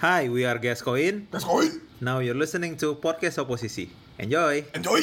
Hi, we are Gascoin. Let's go in. Now you're listening to Podcast Oposisi. Enjoy! Enjoy.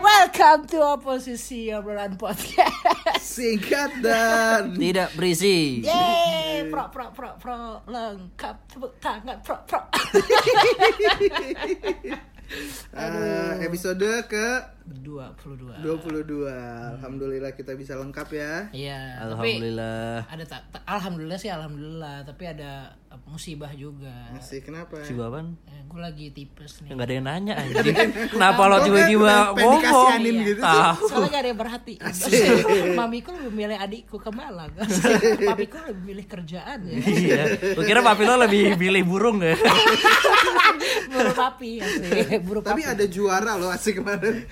Welcome to Oposisi Obrolan Podcast. Singkat dan... Tidak berisi. Yeay, pro pro pro pro lengkap tepuk tangan pro pro. Eh, episode ke 22. 22. Alhamdulillah kita bisa lengkap ya. Iya, tapi Alhamdulillah. ada tak ta- alhamdulillah sih alhamdulillah, tapi ada apa, musibah juga. Masih kenapa? Si Baban Eh, gue lagi tipes nih. Ya, nggak ada yang nanya anjing. Kenapa lo Pengen- tiba-tiba pengen ngomong? dikasihanin gitu sih. Tahu. Iya. Soalnya gak ada yang berhati. Mamiku lebih milih adikku ke Malang. Papiku lebih milih kerjaan ya. Iya. Gue kira papi lo lebih milih burung ya. Buru papi, asli. buru papi. Tapi ada juara loh asik kemarin.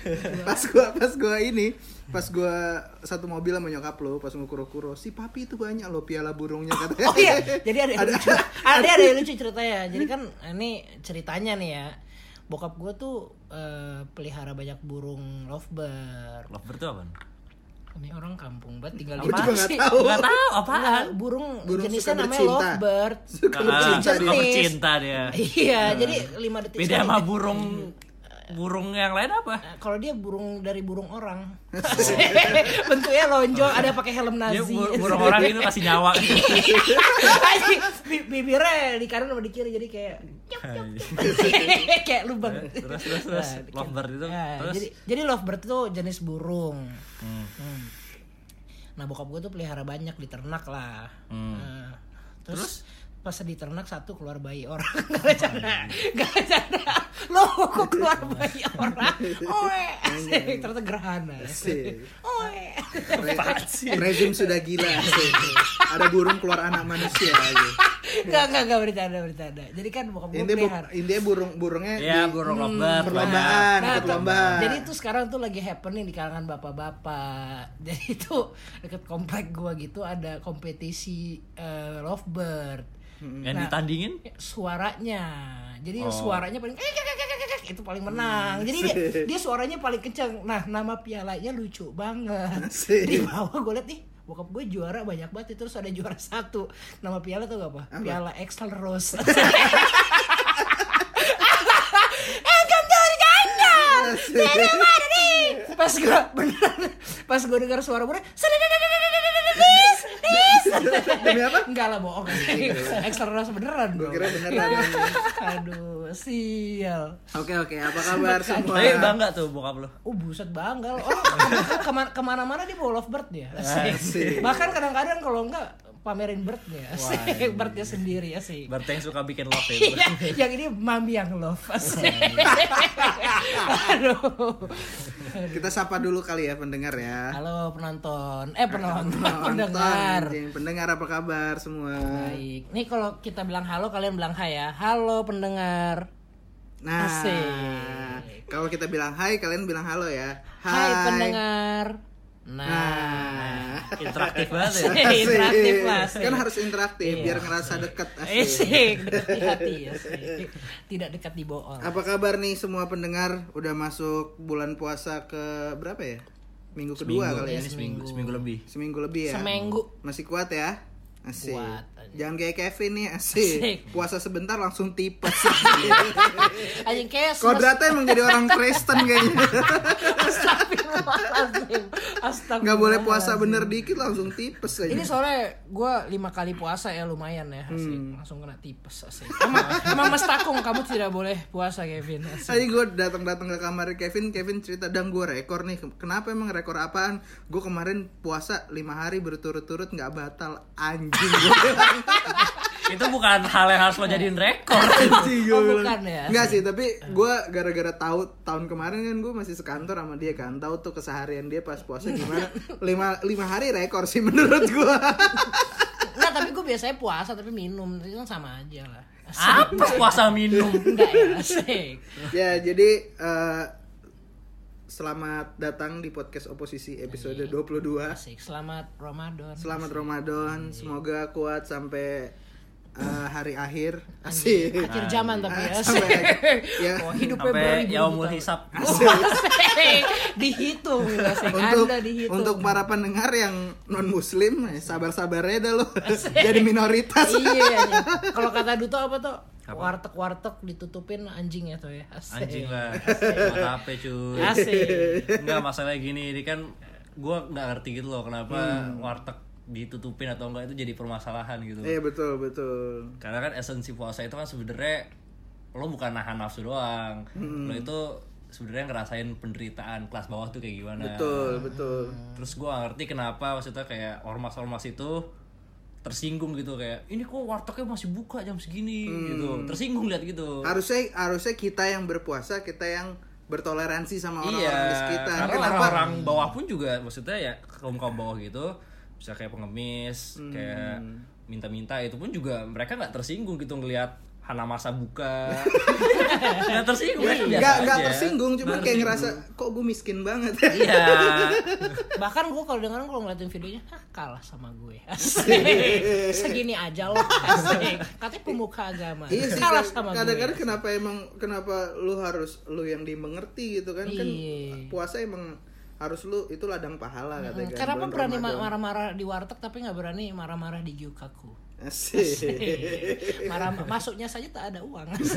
pas gua pas gua ini, pas gua satu mobil sama nyokap lo, pas ngukuro-kuro, si papi itu banyak loh piala burungnya katanya. Oh iya, jadi ada yang lucu. Ada ada yang lucu ceritanya. Jadi kan Hmm. ini ceritanya nih ya. Bokap gue tuh eh, pelihara banyak burung lovebird. Lover tuh apaan? Ini orang kampung banget tinggal di Gua juga mana nggak sih? tahu. Gak tau apaan. Nah, burung, Burung jenisnya suka namanya bercinta. lovebird. Suka bercinta Ah, suka dia. Hmm. bercinta dia. Iya, jadi lima detik. Beda sekali. sama burung burung yang lain Eh, apa? Kalau dia burung dari burung orang, bentuknya lonjong, ada pakai helm Dia Nazi. bur- burung orang itu kasih nyawa. gitu. Anjing, bi- bibirnya di kanan sama di kiri jadi kayak nyok, nyok, nyok. kayak lubang Eh, Terus, terus, terus. Nah, Lovebird itu, kan. ya, terus? jadi jadi lovebird itu jenis burung Hmm. nah bokap gue tuh pelihara banyak di ternak lah Nah, terus, pas di ternak satu keluar bayi orang gak ada gak ada lo kok keluar bayi orang oe Asik, ternyata gerhana Asik. oe Re- Rezim sudah gila. asik. Ada burung keluar anak manusia. Gitu. Enggak, enggak, enggak bercanda, bercanda. Jadi kan bokap gue Ini bu- pelihara. ini dia burung burungnya Ya di burung lover. Hmm, perlombaan, Nah, ikut lomba. tuh, jadi itu sekarang tuh lagi happening di kalangan bapak-bapak. Jadi itu deket komplek gua gitu ada kompetisi eh, lovebird. Yang ditandingin? Suaranya. Jadi Oh. suaranya paling itu paling menang. Jadi dia, dia suaranya paling kenceng. Nah, nama pialanya lucu banget. Asik. Di bawah gue liat nih bokap gue juara banyak banget terus ada juara satu nama piala tuh gak apa, piala Excel Rose Eh, Welcome to the jungle. Never mind it. Pas gue bener, pas gue dengar suara gue, this, this. Demi apa? Enggak lah bohong. Extra rasa beneran dong. Gua kira beneran. Aduh, sial. Oke oke, apa kabar semua? Tapi bangga tuh bokap lo. Oh buset bangga loh. Orang kemana, kemana-mana dia bawa lovebird dia. Asik. Bahkan kadang-kadang kalau enggak pamerin birdnya. Asik. Birdnya sendiri ya sih. Berarti yang suka bikin love ya. itu. Iya, yang ini mami yang love. Asik. Aduh. Kita sapa dulu kali ya pendengar ya. Halo penonton, eh penonton, Penonton, pendengar. anjing. pendengar apa kabar semua? Baik. Nih kalau kita bilang halo kalian bilang hai ya. Halo pendengar. Nah, Asik. kalau kita bilang hai, kalian bilang halo ya. Hai, pendengar. Nah. Nah, Interaktif banget ya. Asik. interaktif Iya, asik. lah, asik. Kan harus interaktif biar ngerasa deket. asik. Asik, dekat di hati iya. ya. asik. Tidak dekat di bool. Apa kabar nih semua pendengar? Udah masuk bulan puasa ke berapa ya? Minggu kedua kali ya. Ini seminggu, seminggu lebih. Seminggu lebih ya. Iya, Seminggu. Masih kuat ya? Asik. Kuat. Jangan kayak Kevin nih, asik. Asik. Puasa sebentar langsung tipes. Anjing kayak semesta- Kodratnya emang jadi orang Kristen kayaknya. Astagfirullahaladzim. Astagfirullahaladzim. Nggak boleh puasa bener dikit langsung tipes Iya, Ini kayaknya. sore gue lima kali puasa ya lumayan ya asik. Hmm. Langsung kena tipes asik. Emang, emang Mas Takung kamu tidak boleh puasa Kevin asik. Tadi gue datang-datang ke kamar Kevin, Kevin cerita dang gue rekor nih. Kenapa emang rekor apaan? Gue kemarin puasa lima hari berturut-turut nggak batal anjing gue. Itu bukan hal yang harus lo jadiin rekor. anjing gue Oh, bilang. bukan ya? iya, Nggak sih, tapi gue gara-gara tahu tahun kemarin kan gue masih sekantor sama dia kan. Tahu tuh keseharian dia pas puasa gimana. lima, lima hari rekor sih menurut gue. Enggak, tapi gue biasanya puasa tapi minum. Itu kan sama aja lah. Ah? Asik. Apa puasa minum? Enggak ya, asik. ya, jadi eh, Selamat datang di podcast oposisi episode 22. Asik. Selamat Ramadan. Selamat Ramadan, semoga kuat sampai uh, hari akhir. Asik. Akhir zaman tapi ya. Nah, Sampai ya. Oh, hidupnya Sampai ya beribu yaumul hisab. dihitung ya, asik. Untuk Anda dihitung. untuk para pendengar yang non muslim, sabar-sabarnya dah lo. Jadi minoritas. iya. iya. Kalau kata Duto apa tuh? Warteg-warteg ditutupin anjing ya tuh ya. Asik. Anjing lah. Buat apa cuy? Asik. Enggak masalahnya gini, ini kan gua nggak ngerti gitu loh kenapa Hmm. warteg ditutupin atau enggak itu jadi permasalahan gitu. Iya betul betul. Karena kan esensi puasa itu kan sebenarnya lo bukan nahan nafsu doang. Hmm. Lo itu sebenarnya ngerasain penderitaan kelas bawah tuh kayak gimana. Betul betul. Terus gua nggak ngerti kenapa maksudnya kayak ormas-ormas itu tersinggung gitu kayak ini kok wartegnya masih buka jam segini Hmm. gitu. Tersinggung lihat gitu. Harusnya harusnya kita yang berpuasa, kita yang bertoleransi sama Iya, orang-orang di sekitar. karena Kenapa? orang-orang bawah pun juga maksudnya ya kaum kaum bawah gitu, bisa kayak pengemis, Hmm. kayak minta-minta itu pun juga mereka nggak tersinggung gitu ngelihat Hana Masa buka, nggak tersinggung Iya, mereka biasa Nggak nggak aja. tersinggung, cuma Nah, Nggak gitu. kayak tersinggung. ngerasa kok gue miskin banget. Iya, Bahkan gue kalau dengerin kalau ngeliatin videonya Hah, kalah sama gue. Asik. Segini aja loh. Asik. Katanya pemuka agama. Iya sih. kalah kad- sama iya. Kadang-kadang gue. kenapa emang kenapa lu harus lu yang dimengerti gitu kan kan Iya. puasa emang harus lu itu ladang pahala Hmm, katanya. kan, Kenapa bulan berani ma- Ramadan. marah-marah di warteg tapi nggak berani marah-marah di Gyukaku? Asik. Marah masuknya saja tak ada uang. gimana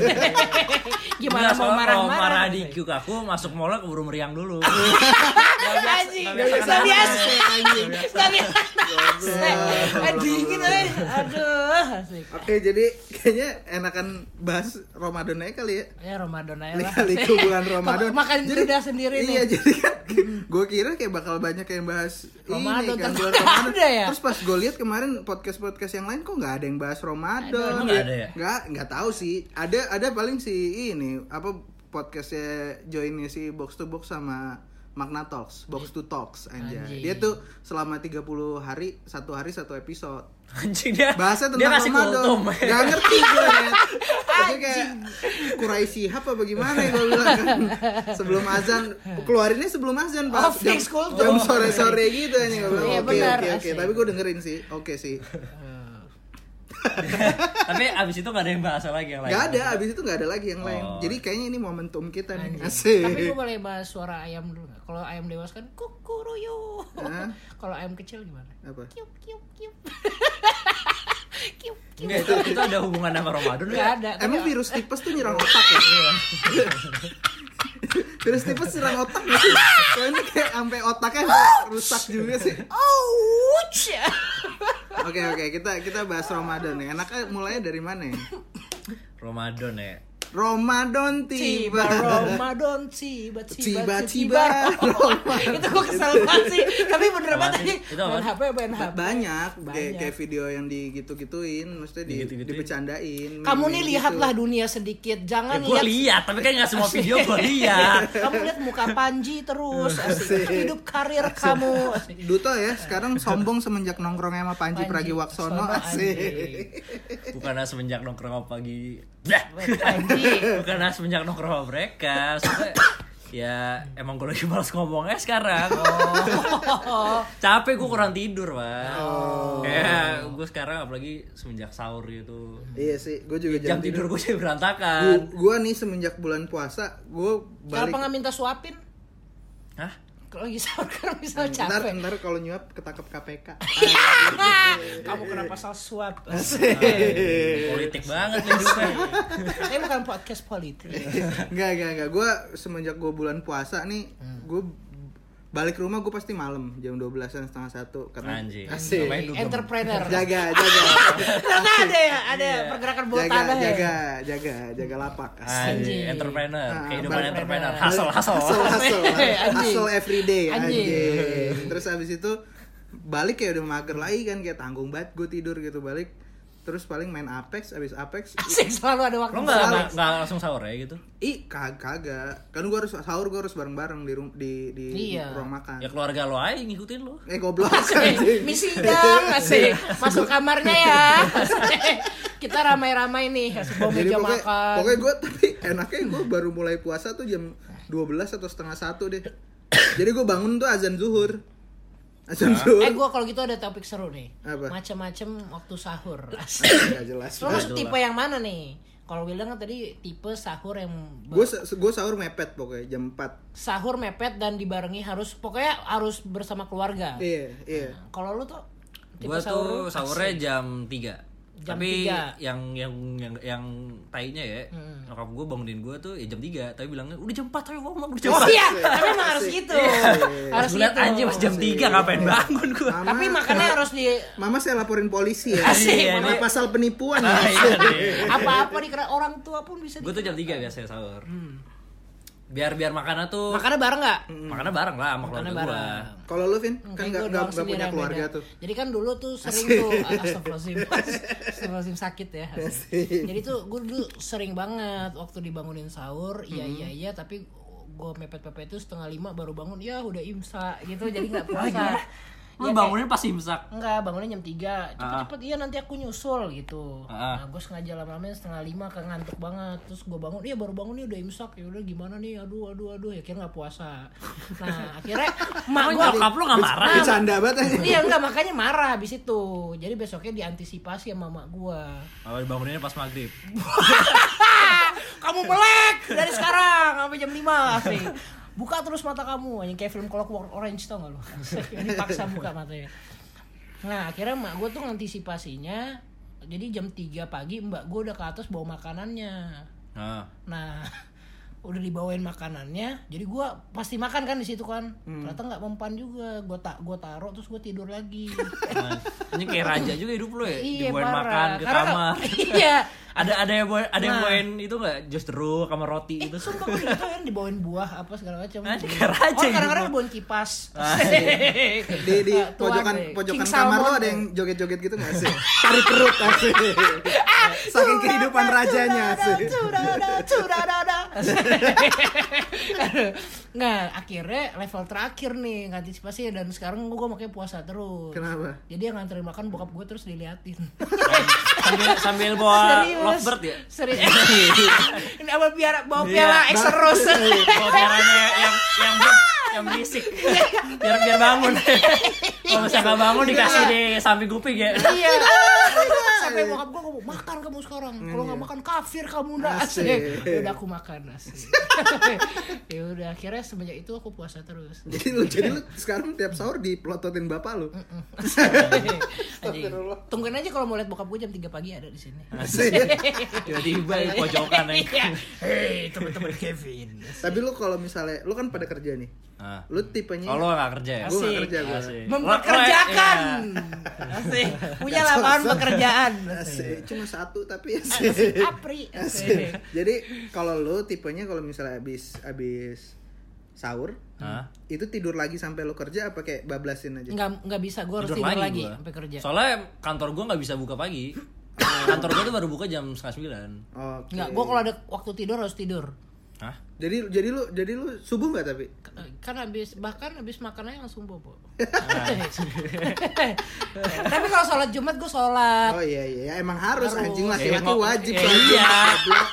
Gimana mau soalnya kalau marah-marah? marah di Q aku masuk mall keburu meriang dulu. Nggak biasa- Anjing, nggak nggak biasa kenapa. biasa. Nggak biasa. Tapi Eh, dingin eh. Aduh, asik. Oke, jadi kayaknya enakan bahas Ramadan aja kali ya. Ya Ramadan aja lah. Kali ke bulan Ramadan. Makan udah sendiri nih. Iya, jadi kan gue kira kayak bakal banyak yang bahas Ramadan, ini ternyata kan bulan nggak Ramadan. ada ya? Terus pas gue lihat kemarin podcast-podcast yang lain kok nggak ada yang bahas Ramadan. Emang nggak ada ya? Nggak, nggak tahu sih. Ada ada paling si ini apa podcastnya joinnya si Box to Box sama Magna Talks, Box to Talks aja. Anjing. Dia tuh selama 30 hari, satu hari satu episode. Anjing dia. Bahasa dia tentang kasih Ramadan. kultum. Gak ngerti gue. Itu kayak kurai sihab apa gimana ya gue bilang kan. Sebelum azan, keluarinnya sebelum azan Pak. Oh, fix kultum. jam sore-sore gitu ya. Gue bilang, Iya, Oke, benar, oke, oke. asik. Tapi gue dengerin sih. Oke sih. Tapi abis itu gak ada yang bahasa lagi yang lain. Gak ada, abis itu gak ada lagi yang lain. Oh. Jadi kayaknya ini momentum kita Tapi nih. gue Asik. boleh bahas suara ayam dulu nggak? Kalau ayam dewasa kan kukuruyu. Hah? Kalau ayam kecil gimana? Apa? Kiup kiup kiup. kiup kiup. Enggak, itu, itu ada hubungan sama Ramadan Nggak ya? ada. tapi- Emang virus tipes tuh nyerang otak ya? Iya. virus tipes nyerang otak gak sih? Soalnya kayak sampai otaknya rusak juga sih. Ouch. Oke oke kita kita bahas Ramadan nih. Enaknya mulai dari mana? ya? Ramadan ya. Ramadan Tiba tiba. Ramadan tiba tiba Tiba-tiba Ramadan. Itu gue kesel banget sih. Tapi bener banget Apaan tadi sih? Itu apaan? main HP main HP. Banyak, kayak, Banyak. kayak video yang digitu-gituin, maksudnya di, Digitu-gituin. dibecandain. Kamu meme-meme nih gitu. lihatlah dunia sedikit. ya Jangan gue lihat lihat, tapi kan gak semua video gue lihat. kamu lihat muka Panji terus asik. hidup karir kamu asik. Duto ya, sekarang sombong semenjak nongkrong sama Panji, Panji Pragiwaksono Pragiwaksono, asik. Bukannya semenjak nongkrong sama pagi. Blah. Panji Bukannya semenjak nongkrong sama mereka. Soalnya, ya emang gue lagi males ngomongnya sekarang. Oh. Oh, Capek gue kurang tidur, Pak. Ya, gue sekarang apalagi semenjak sahur gitu. Iya sih, gue juga jam Jam tidur gue jadi berantakan. Gue nih semenjak bulan puasa, gue kenapa balik. nggak minta suapin Hah? kalau lagi sahur kan bisa Ntar, capek ntar kalau nyuap ketangkep KPK. kamu kenapa salah suap Politik banget nih hidupnya. ini bukan podcast politik Enggak, enggak, enggak. Gue semenjak gue bulan puasa nih, Hmm. gue balik rumah gue pasti malam jam 12-an setengah satu karena Anjing. Asik. Ngapain lu, Bang? entrepreneur jaga jaga ternyata ada ya ada pergerakan bawah jaga tanah ya jaga jaga jaga lapak asik Anjing, entrepreneur, Ah, kehidupan balik- entrepreneur, balik- hustle, hustle. hustle hustle Anjing. hustle everyday Anjing. anjing terus abis itu balik ya udah mager lagi kan kayak tanggung banget gue tidur gitu balik terus paling main apex abis apex asik selalu ada waktu Lo nggak nggak- nggak langsung sahur ya gitu? ih kag- kagak kan gue harus sahur gue harus bareng bareng di rum- di di Iya. ruang makan Ya keluarga lo aja ngikutin lo. eh goblok Eh, anjing. misi dong asik masuk kamarnya ya asik. kita ramai-ramai nih asik bawa Jadi meja pokoknya, makan pokoknya gue tapi enaknya gue baru mulai puasa tuh jam 12 12 atau setengah satu deh jadi gue bangun tuh azan zuhur azan zuhur Eh gua kalau gitu ada topik seru nih. Apa? Macam-macam waktu sahur. nggak jelas Lo masuk tipe yang mana nih? Kalau bilang kan tadi tipe sahur yang ber- gue gue sahur mepet pokoknya jam 4 sahur mepet dan dibarengi harus pokoknya harus bersama keluarga. iya iya Kalau lu tuh tipe Gua sahur tuh sahurnya jam 3 Jam tapi 3. yang yang yang yang tainya ya Hmm. nyokap gue bangunin gue tuh ya jam 3 tapi bilangnya udah jam 4 ayo bangun udah jam Oh 4 iya, tapi emang harus gitu. Iya, harus Gua liat gitu. aja Iya, pas jam 3 ngapain bangun gue Mama- Tapi makanya harus di Mama saya laporin polisi ya. Asik, Ah, iya. Iya, Mama. ini pasal penipuan. ya. Nah, iya, apa-apa di orang tua pun bisa. gue tuh jam 3 biasanya sahur biar biar makanan tuh Makannya bareng nggak? makanan bareng lah sama Makannya keluarga gue bareng. Kalau lu Vin Enggak, Hmm, kan gua nggak doang nggak nggak sendiri punya yang keluarga beda. tuh. Jadi kan dulu tuh sering tuh astagfirullahaladzim Astagfirullahaladzim sakit ya Jadi tuh gue dulu sering banget Waktu dibangunin sahur Iya Hmm. iya iya tapi gue mepet-mepet itu setengah lima baru bangun ya udah imsa gitu jadi nggak Oh, puasa iya. Iya lu bangunin pas imsak Enggak, bangunnya jam 3 Cepet-cepet, iya nanti aku nyusul gitu Ah. Nah, gue sengaja lama-lama setengah lima kayak ngantuk banget Terus gue bangun, iya baru bangun nih udah imsak ya udah gimana nih, aduh, aduh, aduh Ya akhirnya gak puasa Nah, akhirnya emak Emang gue nyokap lu gak marah? Bercanda banget. aja. Ah, Iya enggak, makanya marah habis itu Jadi besoknya diantisipasi sama emak gue Oh, banguninnya pas maghrib Kamu melek dari sekarang sampai jam 5 asik Buka terus mata kamu, anjing kayak film Clockwork Orange tau gak lu? Ini paksa buka matanya Nah akhirnya emak gue tuh antisipasinya Jadi jam 3 pagi mbak gue udah ke atas bawa makanannya nah. Nah udah dibawain makanannya, jadi gua pasti makan kan di situ kan. Hmm. Ternyata nggak mempan juga, gua tak gua taruh terus gua tidur lagi. Nah. Ini kayak raja juga hidup lu ya Iya, Dibawain parah. makan ke Karena- kamar iya. Ada ada yang bawain, ada yang Nah. bawain itu gak? Jus jeruk sama roti Eh, gitu sumpah gue gitu kan dibawain buah apa segala macam. Nah, kayak raja Oh, kadang-kadang gitu. bawain kipas. iya. Di di Tuan, pojokan eh, pojokan King kamar lo Salmon, ada yang eh. joget-joget gitu nggak sih? Tarik perut asik. Saking kehidupan rajanya asik. Curada, curada. Nah, akhirnya level terakhir nih ngantisipasi dan sekarang gue makanya puasa terus. Kenapa? Jadi yang nganterin makan bokap gue terus diliatin. sambil, sambil bawa Serius. lovebird ya? Serius. Ini apa biar bawa piala X Iya, terus. Bawa piaranya yang yang ber- yang berisik biar biar bangun kalau misalnya nggak bangun dikasih di samping kuping ya iya sampai bokap gue ngomong makan kamu sekarang kalau nggak makan kafir kamu ndak Asik. asik ya udah aku makan asik ya udah akhirnya semenjak itu aku puasa terus Jadi lu jadi lu sekarang tiap sahur dipelototin bapak lu. Anjing. tungguin aja kalau mau lihat bokap gue jam 3 pagi ada di sini Iya. Asik. tiba-tiba di pojokan ya Iya. hei teman-teman Kevin Tapi lu kalau misalnya lu kan pada kerja nih. Ah. Lu tipenya kalau nggak kerja ya Gua nggak Asik. kerja gua. Asik. memperkerjakan Iya. asik punya lapangan pekerjaan Asik. Cuma satu tapi asik. asik apri asik Jadi kalau lu tipenya kalau misalnya abis abis sahur Hah? itu tidur lagi sampai lu kerja apa kayak bablasin aja? nggak nggak bisa gue harus tidur, lagi, gua. sampai kerja Soalnya kantor gue nggak bisa buka pagi. kantor gue tuh baru buka jam setengah sembilan. Oke. nggak gue kalau ada waktu tidur harus tidur Hah? Jadi jadi lu jadi lu subuh nggak tapi? kan habis bahkan habis makanannya langsung bobo. Ah. Tapi kalau sholat Jumat gue sholat. Oh iya iya emang harus, Harus. anjing Eh, laki-laki mau- wajib eh, sholat iya. Jumat.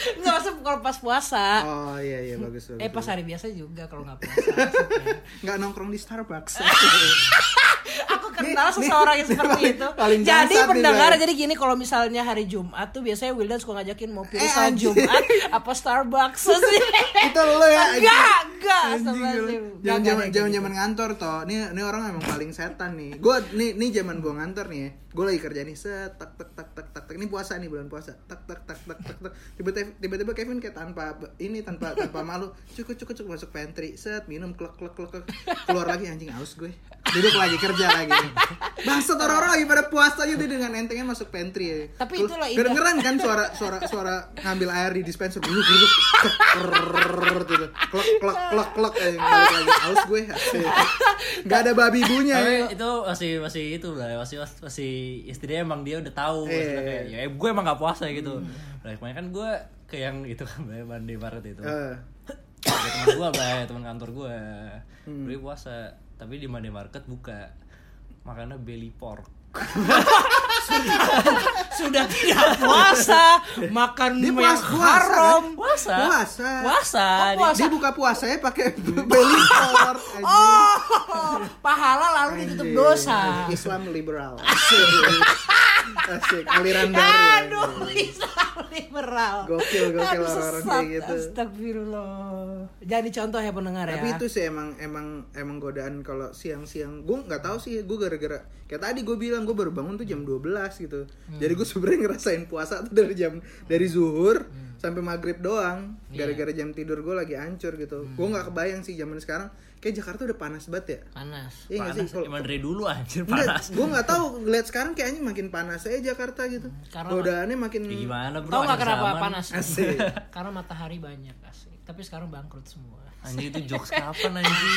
Nggak masuk kalau pas puasa. Oh iya iya bagus bagus. Eh pas hari biasa juga kalau nggak puasa. maksudnya. Nggak nongkrong di Starbucks. Aku kenal seseorang yang seperti paling- itu. paling Jadi bangsat nih, pendengar Bang. jadi gini kalau misalnya hari Jumat tuh biasanya Wildan suka ngajakin mau pilih Eh, sholat anjing. Jumat apa Starbucks sih. Itu lo ya. anjing. Enggak, enggak. Anjing astagfirullahaladzim. lu. Enggak, Zaman enggak, zaman enggak, zaman enggak. zaman ngantor toh. Ini ini orang emang paling setan nih. Gua nih nih zaman gua ngantor nih. ya. Gua lagi kerja nih set tak tak tak tak tak. tak. Ini puasa nih bulan puasa. Tak tak tak tak tak tak. Tiba-tiba tiba-tiba Kevin kayak tanpa ini tanpa tanpa malu. Cukup cukup cukup masuk pantry. Set minum klek klek klek. klek. Keluar lagi anjing aus gue. Duduk lagi kerja lagi. Bangsat orang-orang lagi pada puasa aja dia dengan entengnya masuk pantry ya. Tapi Keluar- itulah indah. Kedengeran kan suara suara suara ngambil air di dispenser dulu dulu gitu. Klok klok klok klok eh, balik lagi aus gue. asik. Nggak ada babi ibunya. Tapi ya. itu masih masih itu lah, masih masih istrinya emang dia udah tahu Iya, iya, maksudnya Hmm. kayak ya gue emang gak puasa gitu. Nah, kemarin kan gue ke yang itu kan Mbak, mandi barat itu. Eh, Ada teman gue lah, teman kantor gue. Hmm. Dia puasa, tapi di mandi market buka. Makannya belly pork. sudah tidak puasa makan Dia yang puas- puasa, kan? haram Puasa. Puasa. Puasa. Oh, puasa. Dia buka puasanya pakai belly color. anjing. Oh, pahala lalu ditutup Anjing. dosa Islam liberal. Asik. Asik. Aliran baru. aduh anjing. Islam liberal Gokil, gokil Aduh, orang-orang sesat. kayak gitu. astagfirullah jadi contoh ya pendengar Tapi ya itu sih emang emang emang godaan kalau siang-siang. Gue nggak tahu sih, gue gara-gara kayak tadi gue bilang gue baru bangun tuh jam 12 gitu. Hmm. Jadi gue sebenarnya ngerasain puasa tuh dari jam dari zuhur Hmm. sampai maghrib doang. Iya. Gara-gara jam tidur gue lagi hancur gitu. Hmm. Gue nggak kebayang sih zaman sekarang. Kayak Jakarta udah panas banget ya. panas Iya nggak sih? Panas. Kalau- Emang dari dulu anjir Enggak, panas. gue nggak tahu lihat sekarang kayaknya makin panas aja Jakarta gitu. Karena- Godaannya makin Ya Hmm, gimana bro? Tahu nggak akhir kenapa zaman. panas? Asik. Karena matahari banyak asik. Tapi sekarang bangkrut semua. Anjir itu jokes kapan anjir?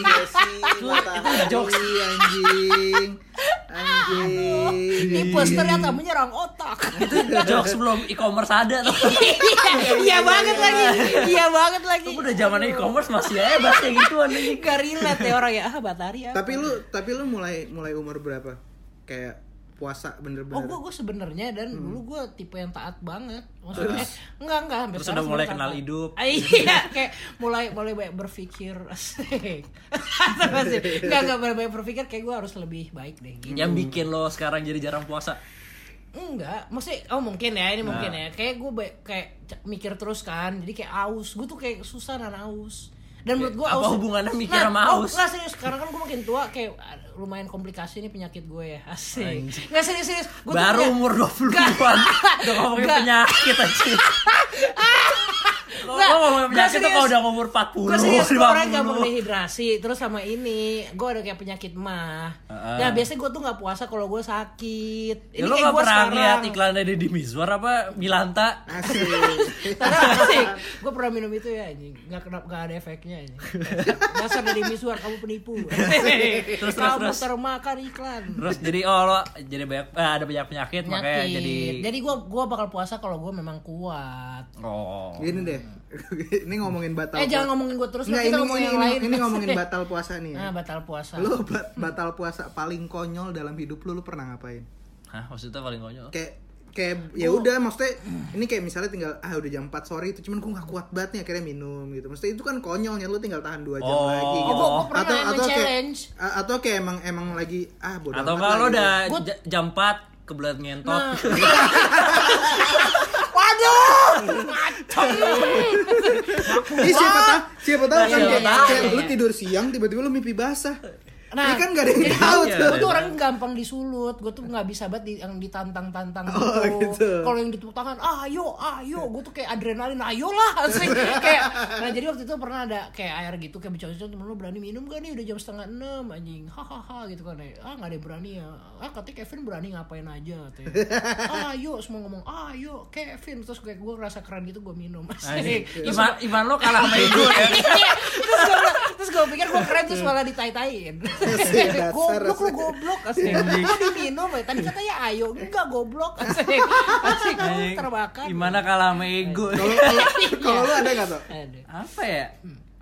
Iya sih, matahari, anjing, anjing. Tipes ternyata menyerang otak. itu jokes belum e-commerce ada tuh. Iya banget lagi. Iya banget lagi. Udah zaman e-commerce masih hebat kayak gitu anjing. Gak relate ya orang ya. Ah, Batari ya. Tapi lu tapi lu mulai mulai umur berapa? Kayak puasa Oh bener-bener. gue gue sebenarnya dan Hmm. dulu gue tipe yang taat banget maksudnya eh, enggak enggak sampai terus sekarang udah mulai sebenarnya kenal taat. hidup. Ah, iya kayak mulai mulai banyak berpikir asik Apa sih? enggak enggak mulai banyak berpikir kayak gue harus lebih baik deh gitu. Yang bikin lo sekarang jadi jarang puasa. Enggak, maksudnya oh mungkin ya Nah. ini mungkin ya. Kayak gue kayak c- mikir terus kan, jadi kayak aus. Gue tuh kayak susah nahan aus. Dan menurut gue Apa aus. hubungannya mikir sama oh, aus? nggak, serius, sekarang kan gue makin tua kayak ah, lumayan komplikasi nih penyakit gue ya. Asik. Enggak serius serius. Gua tuh Baru punya- umur 20-an udah ngomongin Nggak. penyakit anjir. Lo Nggak, ngomongin gua penyakit tuh serius. kalau udah umur 40, gue serius gue orang gak mau 50. dehidrasi terus sama ini gue ada kayak penyakit mah Heeh. nah biasanya gue tuh nggak puasa kalau gue sakit Ya, lo kayak gak gua pernah sekarang. lihat iklannya Deddy Mizwar apa Milanta? Asik. gue pernah minum itu ya anjing nggak kenapa nggak ada efeknya anjing dasar dari misuar kamu penipu Terus, terus, kamu terus. termakan iklan Terus jadi oh lo jadi banyak eh, ada banyak penyakit, makanya Penyakit. jadi jadi gue gua bakal puasa kalau gue memang kuat oh. Gini deh. ini ngomongin batal. eh jangan puasa. ngomongin gue terus Nggak, nanti kita ini, ngomongin ini, yang ini, lain ini ngomongin batal puasa nih. Ya. nah batal puasa Lu bat- batal puasa paling konyol dalam hidup lu lu pernah ngapain? Hah, maksudnya paling konyol. kayak kayak ya udah maksudnya ini kayak misalnya tinggal ah udah jam 4 sore itu cuman gue nggak kuat banget nih akhirnya minum gitu maksudnya itu kan konyolnya lu tinggal tahan dua jam Oh. lagi Oh, gitu gua- gua pernah yang kayak nge-challenge. a- atau kayak emang emang lagi ah bodo Atau amat kalau lah lo gitu. udah Gua- j- jam 4 kebelet ngentot. Nah. waduh Ih, siapa tahu siapa tahu kan Iya, kayak, tahu. kayak lu tidur siang tiba-tiba lu mimpi basah Nah, ini kan gak ada yang tahu iya. tuh gue tuh orang gampang disulut gue tuh nggak bisa banget di, yang ditantang tantang gitu, Oh, gitu. kalau yang ditepuk tangan ayo ayo gue tuh kayak adrenalin ayolah asik kayak nah jadi waktu itu pernah ada kayak air gitu kayak bercanda temen lu berani minum gak nih udah jam setengah enam anjing hahaha gitu kan ah nggak ada yang berani ya ah katanya Kevin berani ngapain aja katanya ayo semua ngomong ayo Kevin terus kayak gue ngerasa keren gitu gue minum Anjing. asik Iman, Iman lo kalah sama ego ya. Iya. terus gue terus gue pikir gue keren terus malah ditai-taiin Iya, Dasar, goblok lu dasar. goblok asik gue diminum ya tadi katanya ayo enggak goblok asik asik kamu Anjing. terbakar Iman lo kalah sama ego. kalau iya. kalau kalau lu ada gak tuh Aduh. Apa ya?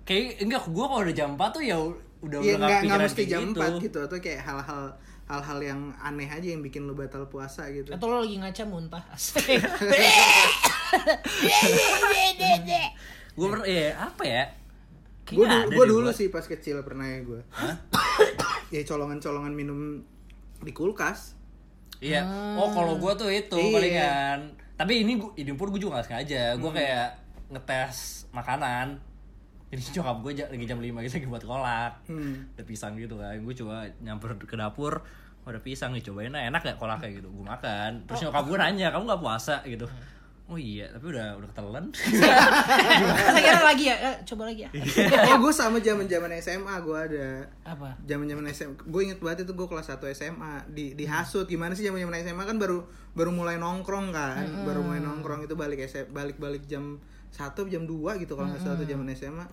Kayak enggak gua kalau udah jam 4 tuh ya u- udah Hmm. ya udah nggak nggak kepikiran mesti kayak jam 4 gitu atau kayak hal-hal hal-hal yang aneh aja yang bikin lu batal puasa gitu atau lo lagi ngaca muntah asik Gue pernah ya apa ya? gue Kayaknya ada dulu, gua deh dulu gua. sih pas kecil pernah ya gue ya colongan-colongan minum di kulkas Iya. Oh, kalau gua tuh itu Ah. Iya. palingan. Tapi ini gua ini pun gua juga gak sengaja. Hmm. Gua kayak ngetes makanan. Jadi nyokap gue lagi jam 5 gitu lagi buat kolak. Hmm. Ada pisang gitu kan. Gue coba nyamper ke dapur. "Oh, Ada pisang nih, cobain nah, enak gak kolak Hmm. kayak gitu. Gue makan. Oh, Terus nyokap gue nanya, "Kamu gak puasa?" gitu. Hmm. Oh iya, tapi udah udah ketelan. saya kira lagi ya Eh, coba lagi ya oh gue sama zaman zaman SMA gue ada apa zaman zaman SMA gue inget banget itu gue kelas 1 SMA di dihasut gimana sih zaman zaman SMA kan baru baru mulai nongkrong kan baru mulai nongkrong itu balik SMA, balik balik jam satu jam 2 gitu kalau nggak salah tuh zaman SMA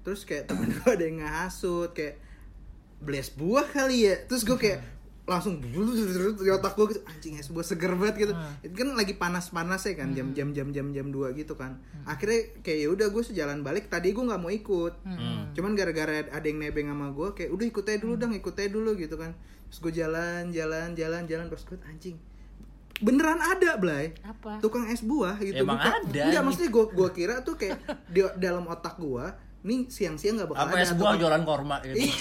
terus kayak temen gue ada yang ngehasut kayak belas buah kali ya terus gue kayak langsung di otak gue gitu anjing es buah seger banget gitu itu kan lagi panas panasnya kan jam jam jam jam jam dua gitu kan akhirnya kayak ya udah gue sejalan balik tadi gue nggak mau ikut Hmm. cuman gara-gara ada yang nebeng sama gue kayak udah ikut aja dulu dong ikut aja dulu gitu kan terus gue jalan jalan jalan jalan pas gue anjing beneran ada Blay Apa? tukang es buah gitu Emang Bukan- ada, enggak nih. maksudnya gua gua kira tuh kayak di dalam otak gua nih siang-siang nggak bakal apa ada Iya. es buah tukang- jualan korma gitu Ih,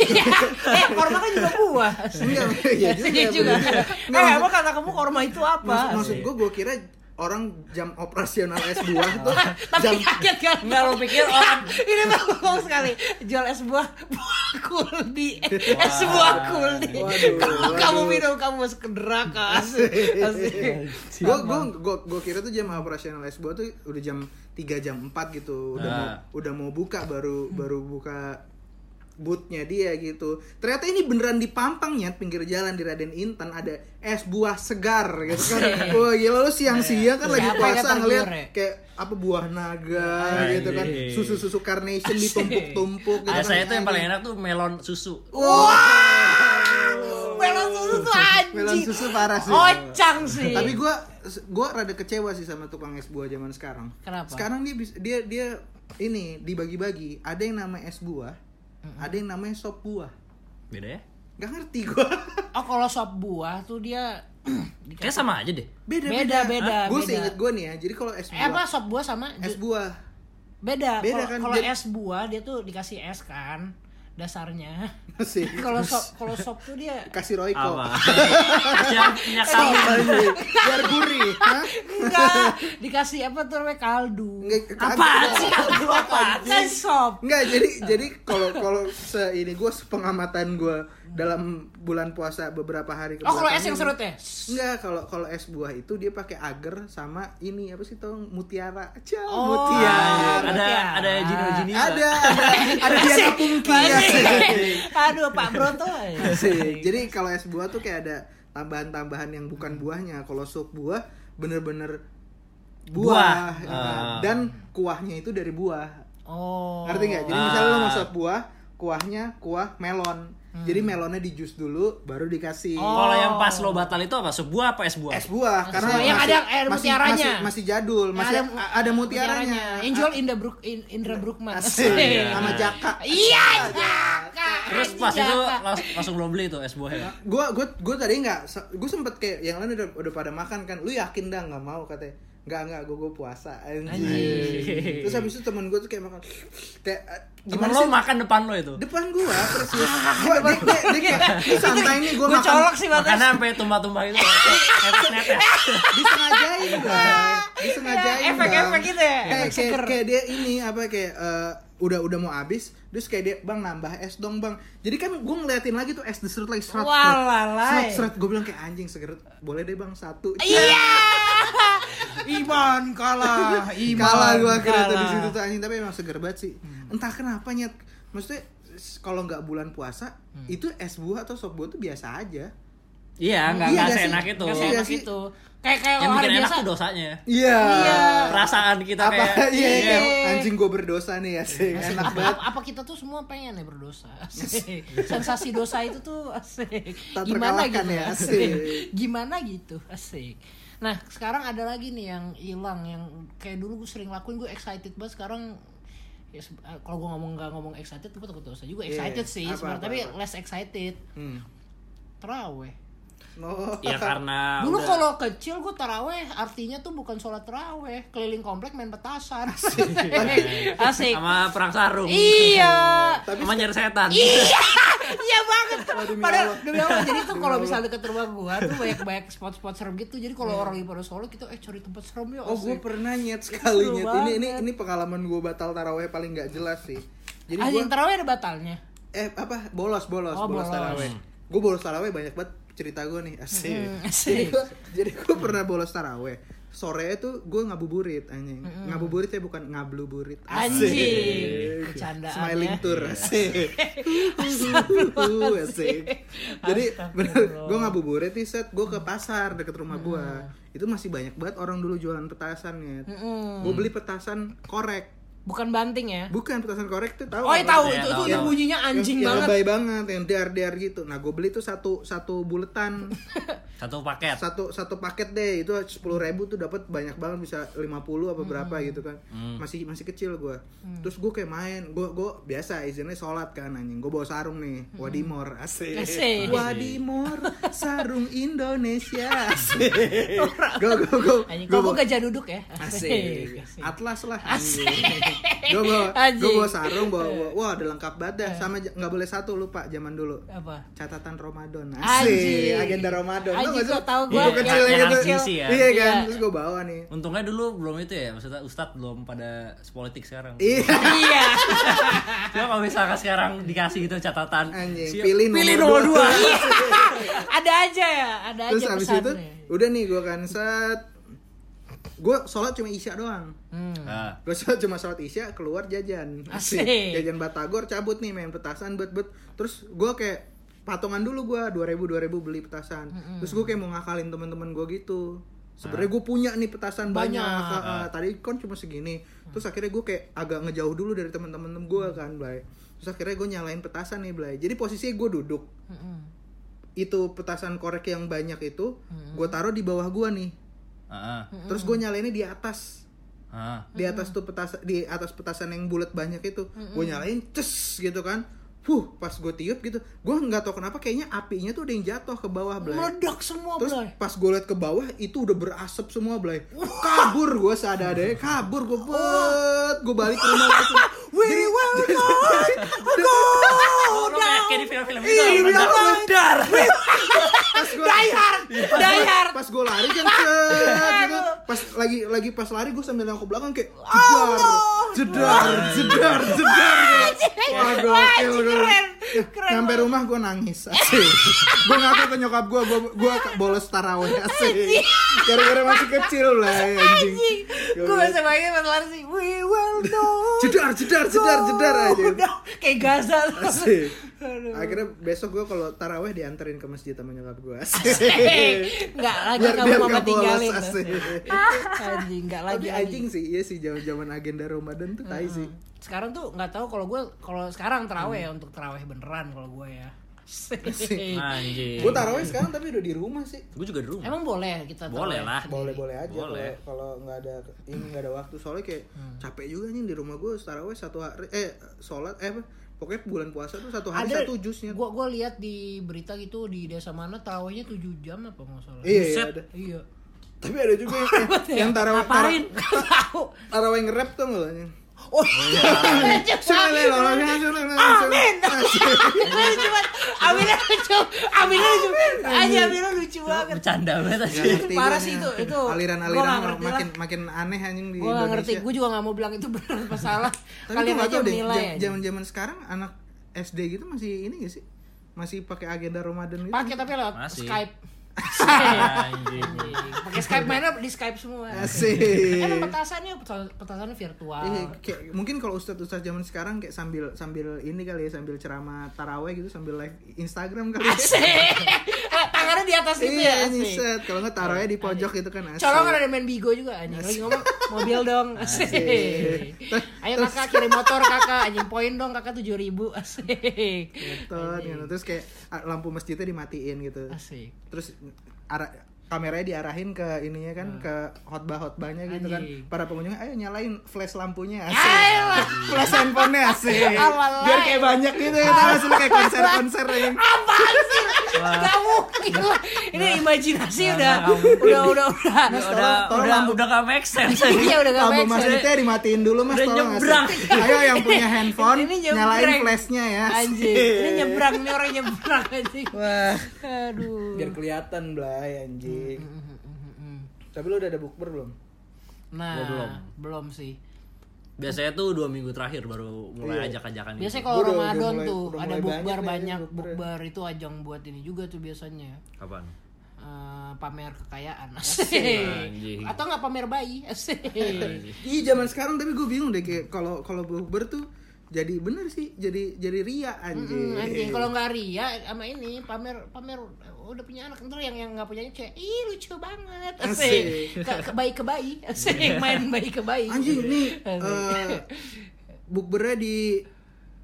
eh korma kan juga buah enggak iya juga, Iya juga. bener. Eh, Nggak, emang kata kamu korma itu maksud, apa? maksud gua gua kira orang jam operasional es buah tuh jam Tapi kaget kan? Enggak lo pikir orang Ini bagus sekali. Jual es buah buah kuldi. Es buah kuldi. Waduh, Kalau kamu waduh. minum kamu masuk ke neraka. Asik. Asik. Iya, gua gua gua gua kira tuh jam operasional es buah tuh udah jam 3 jam 4 gitu udah mau Nah. udah mau buka baru baru buka bootnya dia gitu ternyata ini beneran di Pampangnya pinggir jalan di Raden Intan ada es buah segar gitu kan wah gila lu Nah, siang-siang iya. kan lagi Siapa yang puasa tergiur, ngeliat ya? kayak apa buah naga gitu kan Anjing. susu-susu carnation ditumpuk-tumpuk gitu Ah, kan saya tuh yang paling enak tuh melon susu Melon susu tuh melon anjing. susu parah sih Ocang sih. Tapi gua gua rada kecewa sih sama tukang es buah zaman sekarang. Kenapa? Sekarang dia bis- dia dia ini dibagi-bagi. Ada yang namanya es buah, ada yang namanya sop buah. beda ya Gak ngerti gua. oh kalau sop buah tuh dia kayak sama aja deh beda beda beda. Gue beda. sih inget gue nih ya. Jadi kalau es Eh, apa buah, sop buah sama es buah. beda. Beda Kalau- kan, Kalau jadi- es buah dia tuh dikasih es kan dasarnya. Masih. Kalau sop kalau sop tuh dia Kasih Royco. apa yang minyak Sop sawit anjing. Biar gurih. Hah? enggak dikasih apa tuh namanya kaldu. Nggak, kagak. Apaan sih kaldu apa? Kan sop. Enggak, jadi jadi kalau kalau se ini gue sepengamatan gue dalam bulan puasa beberapa hari Oh kalau kebelakangan es yang ini- serut ya? Enggak, kalau kalau es buah itu dia pakai agar sama ini apa sih tuh mutiara. Ciao, Oh, Iya, Ah, mutiara. ada ada iya. jino jini Ada, ada, ada Diana Pungki ya. Aduh Pak eh. Broto. Asik. Jadi kalau es buah tuh kayak ada tambahan-tambahan yang bukan buahnya. Kalau sup buah bener-bener buah, Buah. ya kan? Ah. dan kuahnya itu dari buah. Oh. Ngerti nggak? Jadi misalnya lo Ah. Hmm. mau sup buah, kuahnya kuah melon. Jadi melonnya di jus dulu, baru dikasih. kalau yang pas lo batal itu apa sebuah apa es buah es buah karena buah. Yang ada air masih, mutiaranya. masih, masih jadul masih Yang a- ada mutiaranya Yang jual Indra Brook In- Indra Brookman. Asik. Asik. sama jaka Iya, Jaka. terus pas Iya, itu langs- langsung lo beli tuh es buahnya gue gue gue tadi nggak gue sempet kayak yang lain udah, udah pada makan kan lu yakin dah nggak mau katanya nggak nggak gue gue puasa anjing terus habis itu temen gue tuh kayak makan kayak eh, temen gimana lo sih? makan depan lo itu depan gua persis Ah, gua dia, dia, dia kayak "Ini santai nih gua Gue makan colok sih banget. Makanya sampai tumpah-tumpah itu netes netes disengajain bang disengajain Ya, Iya. efek-efek Bang. gitu ya, kayak, efek kayak, seger. kayak dia ini apa kayak eh, udah udah mau habis terus kayak dia bang nambah es dong bang jadi kan gue ngeliatin lagi tuh es dessert lagi serat Walalai. serat serat gue bilang kayak anjing seger boleh deh bang satu Iya. Iman kalah, Iman. kalah gue akhirnya tuh di kalah. Hmm. situ tuh anjing tapi emang seger banget sih entah kenapa nyet maksudnya s- kalau nggak bulan puasa Hmm. itu es buah atau sop buah tuh biasa aja Iya iya nggak nggak nggak sih? seenak itu Nggak Iya seenak sih. itu. gitu. Kayak kayak yang orang hari bikin enak biasa. tuh dosanya iya perasaan kita apa kayak iya iya. kayak, anjing gue berdosa nih ya sih enak apa, banget apa, apa kita tuh semua pengen ya berdosa Asik. sensasi dosa itu tuh asik Tak gimana terkalahkan gitu ya, asik asik. gimana gitu asik nah sekarang ada lagi nih yang hilang yang kayak dulu gue sering lakuin gue excited banget sekarang ya, se- eh, kalau gue ngomong nggak ngomong excited gue takut dosa juga Iya, excited iya. sih Apa, sebenarnya apa, tapi apa? less excited Hmm. teraweh Iya Oh. kan? ya karena Dulu udah- kalau kecil gue taraweh artinya tuh bukan sholat taraweh keliling komplek main petasan asik, asik. Iya, sama perang sarung iya sama nyari setan Iya banget. demi Padahal Allah. Iya. demi Allah. Jadi tuh kalau misalnya deket rumah gua tuh banyak-banyak spot-spot serem gitu. Jadi kalau orang lagi pada sholat gitu, eh cari tempat serem yuk. Oh gue asik. pernah nyet sekali seru nyet. Ini ini banget. ini pengalaman gue batal taraweh paling nggak jelas sih. Jadi gue Anjing terawih ada batalnya. eh apa bolos bolos Oh, bolos bolos. taraweh. Gue bolos taraweh banyak banget cerita gue nih asik. Jadi Hmm. asik. gue jadi gue pernah bolos taraweh. Sore itu gue ngabuburit anjing. Ngabuburit ya bukan ngabluburit. Hmm. Anjing. Bercandaan Smiling ya. tour asik. asik. Jadi bener gue ngabuburit nih set gue ke pasar deket rumah gue. Hmm. Itu masih banyak banget orang dulu jualan petasannya. Gue beli petasan korek. Bukan banting ya? Bukan petasan korek tuh tahu. Oh, nggak tahu lo? Iya, itu, tahu, itu tahu. bunyinya anjing yang, banget. Yang lebay banget, yang dar-dar gitu. Nah, gue beli tuh satu satu buletan, Satu paket. satu satu paket deh. Itu 10.000 tuh dapat banyak banget bisa 50 apa berapa Hmm. gitu kan. Masih masih kecil gua. Terus gue kayak main, gue gue biasa izinnya sholat kan anjing. Gue bawa sarung nih, Wadimor Hmm. asik. Asik. Wadimor sarung Indonesia. Asik. Go go go. Anjing, Gua kalau bawa- gua gajah duduk ya. Asik. Asik. Atlas lah. Asik. gue bawa, Anjing. gua bawa sarung, bawa, bawa- wah udah lengkap banget Iya. dah. Sama j- nggak boleh satu lupa zaman dulu. Apa? Catatan Ramadan. Anjing. Asik. Agenda Ramadan. Tau Anjing, nggak sih? kok tahu gua. Buku kecil Yang- yang gitu. harus diisi ya? Iya kan. Iya. Terus gue bawa nih. Untungnya dulu belum itu ya, maksudnya Ustadz belum pada politik sekarang. Iya. Iya. Cuma kalau misalkan sekarang dikasih gitu catatan, siap. Anjing. Pilih nomor, Pilih nomor dua. dua. Iya. ada aja ya, ada Terus aja habis itu, pesannya. udah nih gue kan set. Gue sholat cuma isya doang. Hmm. Ah, Gue sholat cuma sholat isya keluar jajan. Asik. Jajan Batagor cabut nih main petasan bet bet. Terus gue kayak patungan dulu gue 2000 2000 beli petasan. Terus gue kayak mau ngakalin teman-teman gue gitu. Sebenarnya gue punya nih petasan banyak. ah, ah. Tadi kan cuma segini. Terus akhirnya gue kayak agak ngejauh dulu dari teman-teman gue kan, Blay. Terus akhirnya gue nyalain petasan nih, Blay. Jadi posisinya gue duduk. Mm-mm. Itu petasan korek yang banyak itu gue taruh di bawah gue nih. ah, Terus gue nyalainnya di atas ah. di atas tuh petasan di atas petasan yang bulat banyak itu gue nyalain ces gitu kan Huh, pas gue tiup gitu, gue nggak tahu kenapa kayaknya apinya tuh ada yang jatuh ke bawah belai. Meledak semua, Terus Blay. pas gue liat ke bawah itu udah berasap semua belai. Kabur gue seadanya, kabur gue bet, gue balik ke rumah langsung. Jadi, Oh, lo kayak kayak di film-film gitu. Iya, Iya, iya, Meledak. pas gue Die hard, Iya. die hard. pas gue lari kan cet, gitu. Pas lagi lagi pas lari gue sambil nengok ke belakang kayak jedar, jedar, jedar, jedar. Wah, Anjing, Eh, gokil, anjing, gokil. keren. Keren. nyampe banget. rumah gue nangis gue ngaku ke nyokap gue gue gue bolos taraweh asik gara-gara masih kecil lah ya, anjing Anjing. Gue bisa bayangin pas lari sih. We will know. jedar jedar jedar jedar aja Udah, kayak Gaza. asik Aduh. akhirnya besok gue kalau taraweh dianterin ke masjid sama nyokap gue Hei, asik Nggak lagi biar kamu biar mama nggak bolos tinggalin. asik Anjing, Hmm. nggak lagi. tapi anjing sih iya sih zaman zaman agenda Ramadan tuh tai sih Sekarang tuh nggak tahu kalau gue kalau sekarang teraweh Hmm. ya untuk teraweh beneran kalau gue ya. Asik. Iya, Anjing. gue taraweh sekarang tapi udah di rumah sih Gue juga di rumah. Emang boleh kita Boleh terawih? lah. boleh boleh aja Boleh. kalau- kalau nggak ada ini nggak ada waktu soalnya kayak capek juga nih di rumah gue taraweh satu hari eh sholat eh apa, pokoknya bulan puasa tuh satu hari satu jusnya Gua gua lihat di berita gitu di desa mana tarawihnya 7 jam apa nggak salah. iya iya, Buset. ada Iya. tapi ada juga yang, yang taraweh ngapain? tara- Nggak tahu. taraweh nge-rap tuh nggak anjing? Oh, iya. Shalala, shalala, shalala, Amin. shalala. Lu cuma Aminnya lucu. Aminnya lucu. Aja Aminnya lucu banget. Bercanda banget Nggak aja. ngerti Parah gua sih nih. itu, itu. Gua nggak aliran-aliran ngerti makin makin aneh anjing di Gue gak ngerti, Indonesia gue juga gak mau bilang itu benar apa salah tapi Kalian gua nggak aja tahu deh menilai ja- aja. zaman-zaman sekarang anak SD gitu masih ini gak sih masih pakai agenda Ramadan gitu Pakai tapi lewat Masih. Skype Anjing. Pakai Skype mainnya di Skype semua Asik. Emang petasannya, peta- petasannya virtual Iya, kayak mungkin kalau ustadz-ustadz zaman sekarang kayak sambil sambil ini kali ya sambil ceramah taraweh gitu sambil live Instagram kali ya. Asik Tangannya di atas gitu ya Iya, asik nyset. Kalau nggak taraweh di pojok gitu kan asik. Colongan ada main bigo juga anjing Lagi ngomong mobil dong asik Ayo kakak kirim motor kakak Anjing poin dong kakak 7000 ribu asik Ngetot, gitu. Terus kayak ah, lampu masjidnya dimatiin gitu. Asik Terus arah kameranya diarahin ke ininya kan ke khotbah-khotbahnya gitu Ah. kan. Anjing. Para pengunjungnya ayo nyalain flash lampunya asik. Ayolah flash handphonenya asik. Awalai. Biar kayak banyak gitu ya. Tahu sih, kayak konser-konser yang Apaan sih? Gak mungkin lah. Ini imajinasi udah, udah, udah, udah, Udah, tolong udah, lampu- udah gak make sense. Iya udah gak Lampu make sense. masjidnya dimatiin dulu mas Udah tolong asik. nyebrang. Ayo yang punya handphone Ini nyebrang. nyalain flashnya ya. Anjing, ini nyebrang nih orang nyebrang anjing. Wah, Aduh. Mm-hmm, biar kelihatan belai anjing. Tapi lu udah ada bukber belum? Nah, Gua belum. belum. sih. Biasanya tuh dua minggu terakhir baru mulai Iya. ajak-ajakan gitu. Biasanya kalau Gua udah- Ramadan udah mulai- tuh udah ada mulai bukber banyak nih, banyak, bukber. bukber itu ajang buat ini juga tuh biasanya. Kapan? Eh, pamer kekayaan Anjing. atau nggak pamer bayi asik. Ih, zaman sekarang tapi gue bingung deh kayak kalau kalau bukber tuh jadi bener sih jadi jadi ria anjing Mm, anjing kalau nggak ria sama ini pamer pamer udah punya anak ntar yang yang nggak punya kayak ih lucu banget asik Asik. Ke- kebayi kebayi asik Iya. main bayi kebayi anjing nih eh, bukbernya di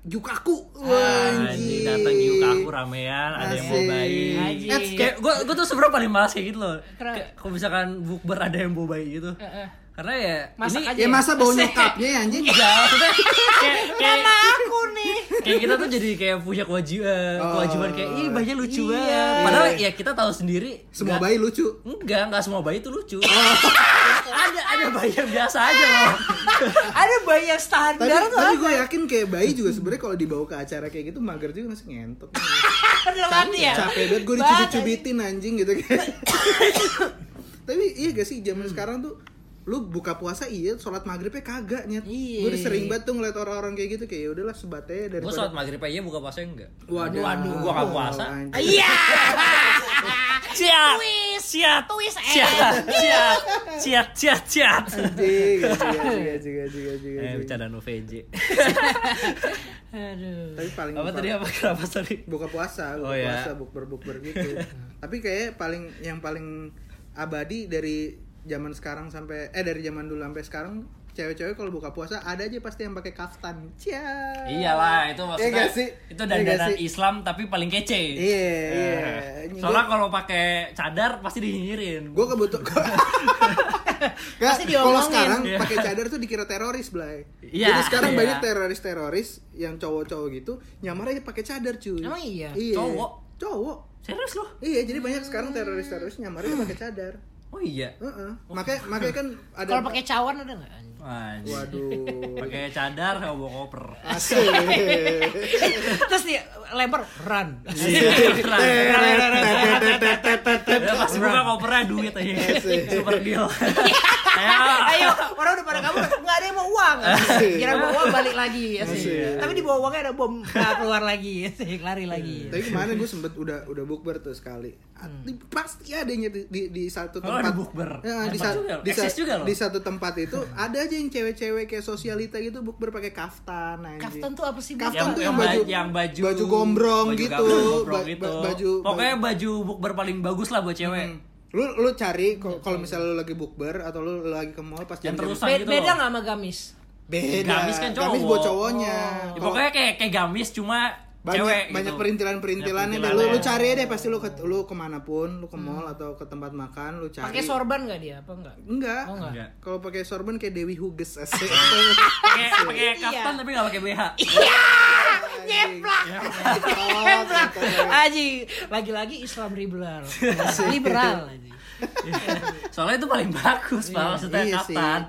Jukaku Wah, Anjing datang yuk aku ramean, ada yang mau Asik. Eh, bayi. Anjing. Kayak gue gue tuh sebenarnya paling malas kayak gitu loh. Iya. Kenapa? Kayak kalau misalkan bukber ada yang mau bayi gitu. Heeh. Karena ya Masak ini aja. ya masa bau Asik. nyokapnya ya, anjing Enggak, maksudnya kayak, kayak, Sama aku nih kayak kita tuh jadi kayak punya kewajiban, Oh. kewajiban kayak ih banyak lucu Iya. banget. Padahal ya kita tahu sendiri semua Oh. nggak- bayi lucu Enggak, enggak semua bayi itu lucu. ada ada bayi yang biasa aja Iya, loh. ada bayi yang tapi, standar tuh ah, tapi gue yakin kayak bayi juga sebenarnya kalau dibawa ke acara kayak gitu mager juga masih ngentot apa dalam Kan hati ya capek banget gue dicubit-cubitin anjing gitu kayak tapi iya gak sih Hmm. zaman sekarang tuh lu buka puasa iya sholat maghribnya kagak nyet Iya. gue udah sering banget tuh ngeliat orang-orang kayak gitu kayak udahlah sebatnya Gue daripada sholat maghrib aja buka puasa enggak. waduh Waduh, gua nggak puasa. anjing. iya Siap. twist Siap. twist eh Siap. Siap. Siap. Siap. Siap. Anjing, anjing, anjing, anjing, anjing, anjing, Eh, anjing. bercandaan OVJ. aduh tapi paling Apa tadi apa kenapa tadi? buka puasa buka Oh, ya. puasa bukber bukber gitu tapi kayak paling yang paling abadi dari zaman sekarang sampai eh dari zaman dulu sampai sekarang cewek-cewek kalau buka puasa ada aja pasti yang pakai kaftan cia Iyalah, itu maksudnya nggak sih? itu Iya dandanan nggak sih? Islam tapi paling kece. iya iya Eh, Soalnya kalau pakai cadar pasti dinyinyirin. gue kebetulan Gak, Pasti kalau diomongin. sekarang Iya. pakai cadar tuh dikira teroris, Blay. Iya, Jadi sekarang iya. banyak teroris-teroris yang cowok-cowok gitu nyamar aja pakai cadar, cuy. Emang iya? Cowok? Cowok. serius loh. Iya, jadi banyak sekarang teroris-teroris nyamarnya pakai cadar. Oh iya. Heeh. Makanya makanya kan ada kalau pakai cawan ada nggak anjing? Anjir. Waduh. Pakai cadar sama bawa koper. Asik. terus dia lempar run Iya. Ya, pasti buka kopernya duit aja. Iya Super deal. Ya. Ayo, orang udah pada kabur, nggak ada yang mau uang. Asik. Kira mau uang balik lagi, asik. Asik. Tapi di bawah uangnya ada bom nah, keluar lagi, asik. lari Iya. lagi. Tapi kemarin gue sempet udah udah bukber tuh sekali. Ah, di- Hmm. Pasti ada yang di, di, di satu Oh, tempat. ada bukber. Ya, di, Hebat sa- juga loh. di, sa- Eksis juga loh. di satu tempat itu ada aja yang cewek-cewek kayak sosialita gitu bukber pakai kaftan anjing. Kaftan tuh apa sih? Bu? Kaftan yang, tuh yang, yang baju, baju- yang baju baju gombrong baju gitu, gombrong, gombrong ba- gitu. ba- baju- pokoknya baju bukber paling bagus lah buat cewek Hmm. Lu lu cari kalau- kalau misalnya lu lagi bukber atau lu lagi ke mall pas yang jam-jam- terusan Be- gitu beda loh nggak sama gamis? beda. Gamis kan cowok. Gamis buat cowoknya. Ya, Kalau- pokoknya kayak kayak gamis cuma banyak cewek banyak gitu. perintilan-perintilannya Banyak ya. deh. lu lu perintilannya. cari deh pasti lu ke lu kemanapun lu ke mall atau ke tempat makan lu Nah, cari Hmm. Pakai iya. sorban nggak dia? Apa nggak? enggak, Oh, enggak. Enggak. kalau pakai sorban kayak Dewi Huges Iya. asik pakai pakai Iya. kaftan tapi nggak pakai BH Nyeplak, Oh, Oh, nyeplak. gitu. gitu. Aji, lagi-lagi Islam liberal, liberal. Aji. soalnya itu paling bagus pak maksudnya iya sih. kaftan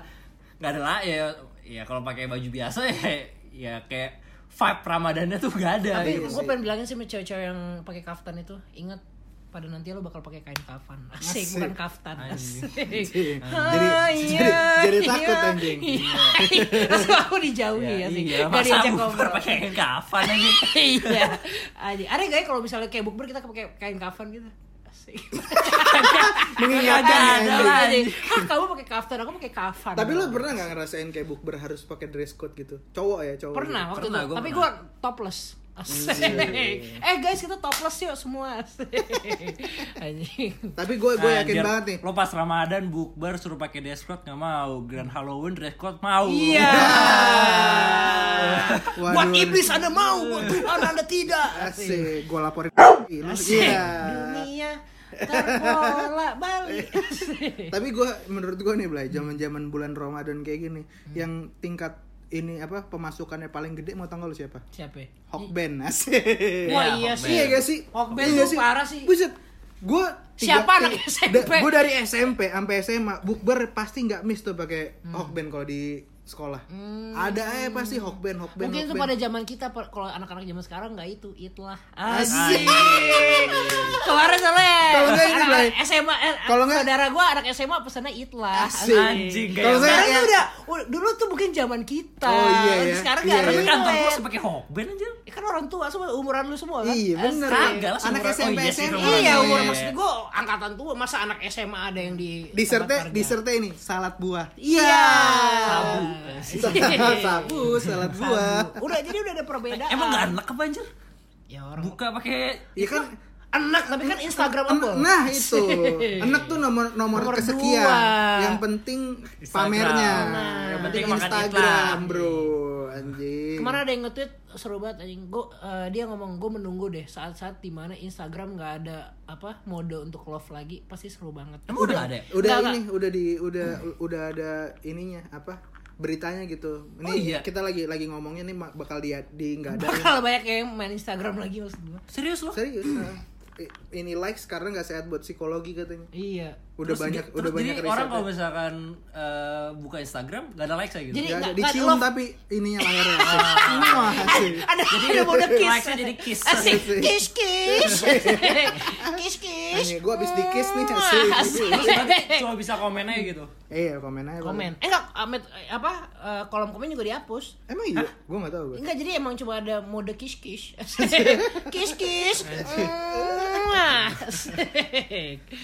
nggak ada lah ya ya kalau pakai baju biasa ya ya kayak vibe ramadannya tuh Iya, nggak ada Tapi gitu. gue pengen bilangin sih sama cewek-cewek yang pakai kaftan itu, ingat pada nanti lo bakal pakai kain kafan. Asik, bukan kaftan. Asik. jadi jadi jadi takut anjing Iya. Terus aku dijauhi ya, ya, sih. iya Gak masa diajak bukber ngobrol. pakai kain kafan aja Iya. Aji. Ada gak ya kalau misalnya kayak bukber kita pakai kain kafan gitu? Asik. mengingatkan Ada anjing. lah. Aji. Ah, kamu pakai kaftan, aku pakai kafan. tapi lu pernah nggak ngerasain kayak bukber harus pakai dress code gitu cowok ya cowok pernah waktu Pernah, itu. gua Tapi pernah. gue topless. Asik. Iya, Eh guys, kita topless yuk semua. Asik. Anjing. tapi gue gue yakin Anjir, banget nih Lo pas Ramadan bukber suruh pakai dress code nggak mau, Grand Halloween dress code mau. Iya. Oh. Waduh. Buat iblis Anda mau, buat Tuhan Anda tidak. asik gue laporin Lu- Asik. iya Dunia terbolak balik. tapi gue menurut gue nih Blay zaman zaman bulan Ramadan kayak gini Hmm. yang tingkat ini apa pemasukannya paling gede mau tanggal lu siapa Siapa? ya? Hokben asik Wah iya Hokben. Iya sih. gak sih? Hokben Iya gak tuh parah sih. Buset. Gue Siapa anak SMP? gue dari SMP sampai SMA bukber pasti nggak miss tuh pakai Hmm. hokben kalau di sekolah. Ada aja pasti hokben hokben. Mungkin itu hokben. pada zaman kita per- kalau anak-anak zaman sekarang nggak itu, itlah. Asik. Kemarin soalnya Kalau nggak ini anak-anak Lai. anak SMA eh, Kalau nggak- saudara gua anak SMA pesannya itlah Asik. Anjing, kayak Kalau saya sekarang tuh kayak- udah u- dulu tuh mungkin zaman kita Oh, iya ya. sekarang Iya, nggak iya. ada Tapi kantor gue relate. pakai hokben aja Ya kan orang tua semua umuran lu semua kan Iya bener Asik. Kagak lah, Anak seumuran. Oh, SMP iya sih, SMA seumuran. iya umur maksud gua angkatan tua masa anak SMA ada yang di Diserte, tempat kerja? diserte ini salad buah. Iya. iya Sabu. Sabu, salad buah. udah jadi udah ada perbedaan Emang gak enak apa anjir? ya orang Buka pakai Iya kan enak tapi kan Instagram aku Nah itu Enak tuh nomor nomor, Nomor kesekian dua. Yang penting Instagram. pamernya Nah, Yang yang penting penting makan Instagram iklan. bro Anjing Kemarin ada yang nge-tweet seru banget anjing. Gua eh, dia ngomong gue menunggu deh saat-saat dimana Instagram nggak ada apa mode untuk love lagi pasti seru banget. Emang udah nggak ada ya? Udah Nggak, ini udah di udah udah ada ininya apa beritanya gitu ini Oh, iya. kita lagi lagi ngomongnya nih ma- bakal di di nggak ada Bakal banyak yang main Instagram lagi maksud gue. Serius lo? serius nah. I- ini likes karena nggak sehat buat psikologi katanya Iya. udah Terus banyak di- udah terus banyak ya. jadi orang risetnya. kalau misalkan eh, buka Instagram gak ada like saya gitu. Jadi- Nggak ada, nggak- dicium nggak- tapi ininya layarnya semua Ada ada mode kiss. Likes-nya jadi kiss. Asik. Kiss kiss. kiss kiss. Gue abis di kiss nih asik. Terus berarti cuma bisa komen aja gitu. Iya komen aja Komen. Eh enggak, Ahmed, eh, apa eh, kolom komen juga dihapus. Emang iya? Gue gak tau gue Enggak, jadi emang cuma ada mode kiss kiss. kiss kiss. Ah.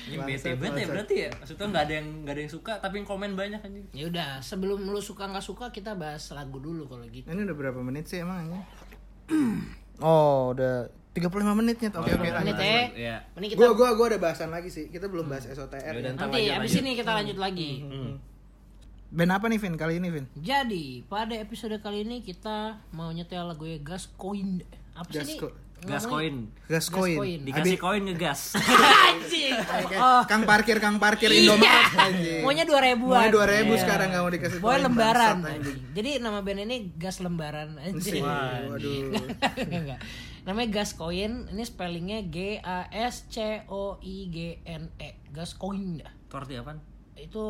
Ini bete bete berarti ya. Maksudnya gak ada yang gak ada yang suka tapi yang komen banyak anjing. Ya udah, sebelum lu suka nggak suka kita bahas lagu dulu kalau gitu. Ini udah berapa menit sih emangnya? oh udah 35 menitnya tuh Oke oke Menit lanjut. ya. Iya. Ini kita Hmm. Gue gua, gua ada bahasan lagi sih Kita belum bahas SOTR Yaudah, ya. ntar Hmm. nanti lanjut, abis lanjut. ini kita lanjut Hmm. lagi. Band apa nih Vin kali ini Vin? Jadi pada episode kali ini kita mau nyetel lagu ya gas coin. Apa sih ini? Gasco- Gas Ngomongin- koin. Gascoin Dikasih koin ngegas. Anjing. iya. Kayak Eh, Kang parkir, Kang parkir Indomaret anjing. Oh. Maunya dua ribuan. Maunya 2000 sekarang gak mau dikasih Boy koin, lembaran. bangsat, anjing. anjing. Jadi nama band ini gas lembaran Anjing, anjing. Waduh Enggak, enggak. Namanya gas coin. Ini spellingnya G A S C O I G N E. Gas coin dah. Itu arti apaan? itu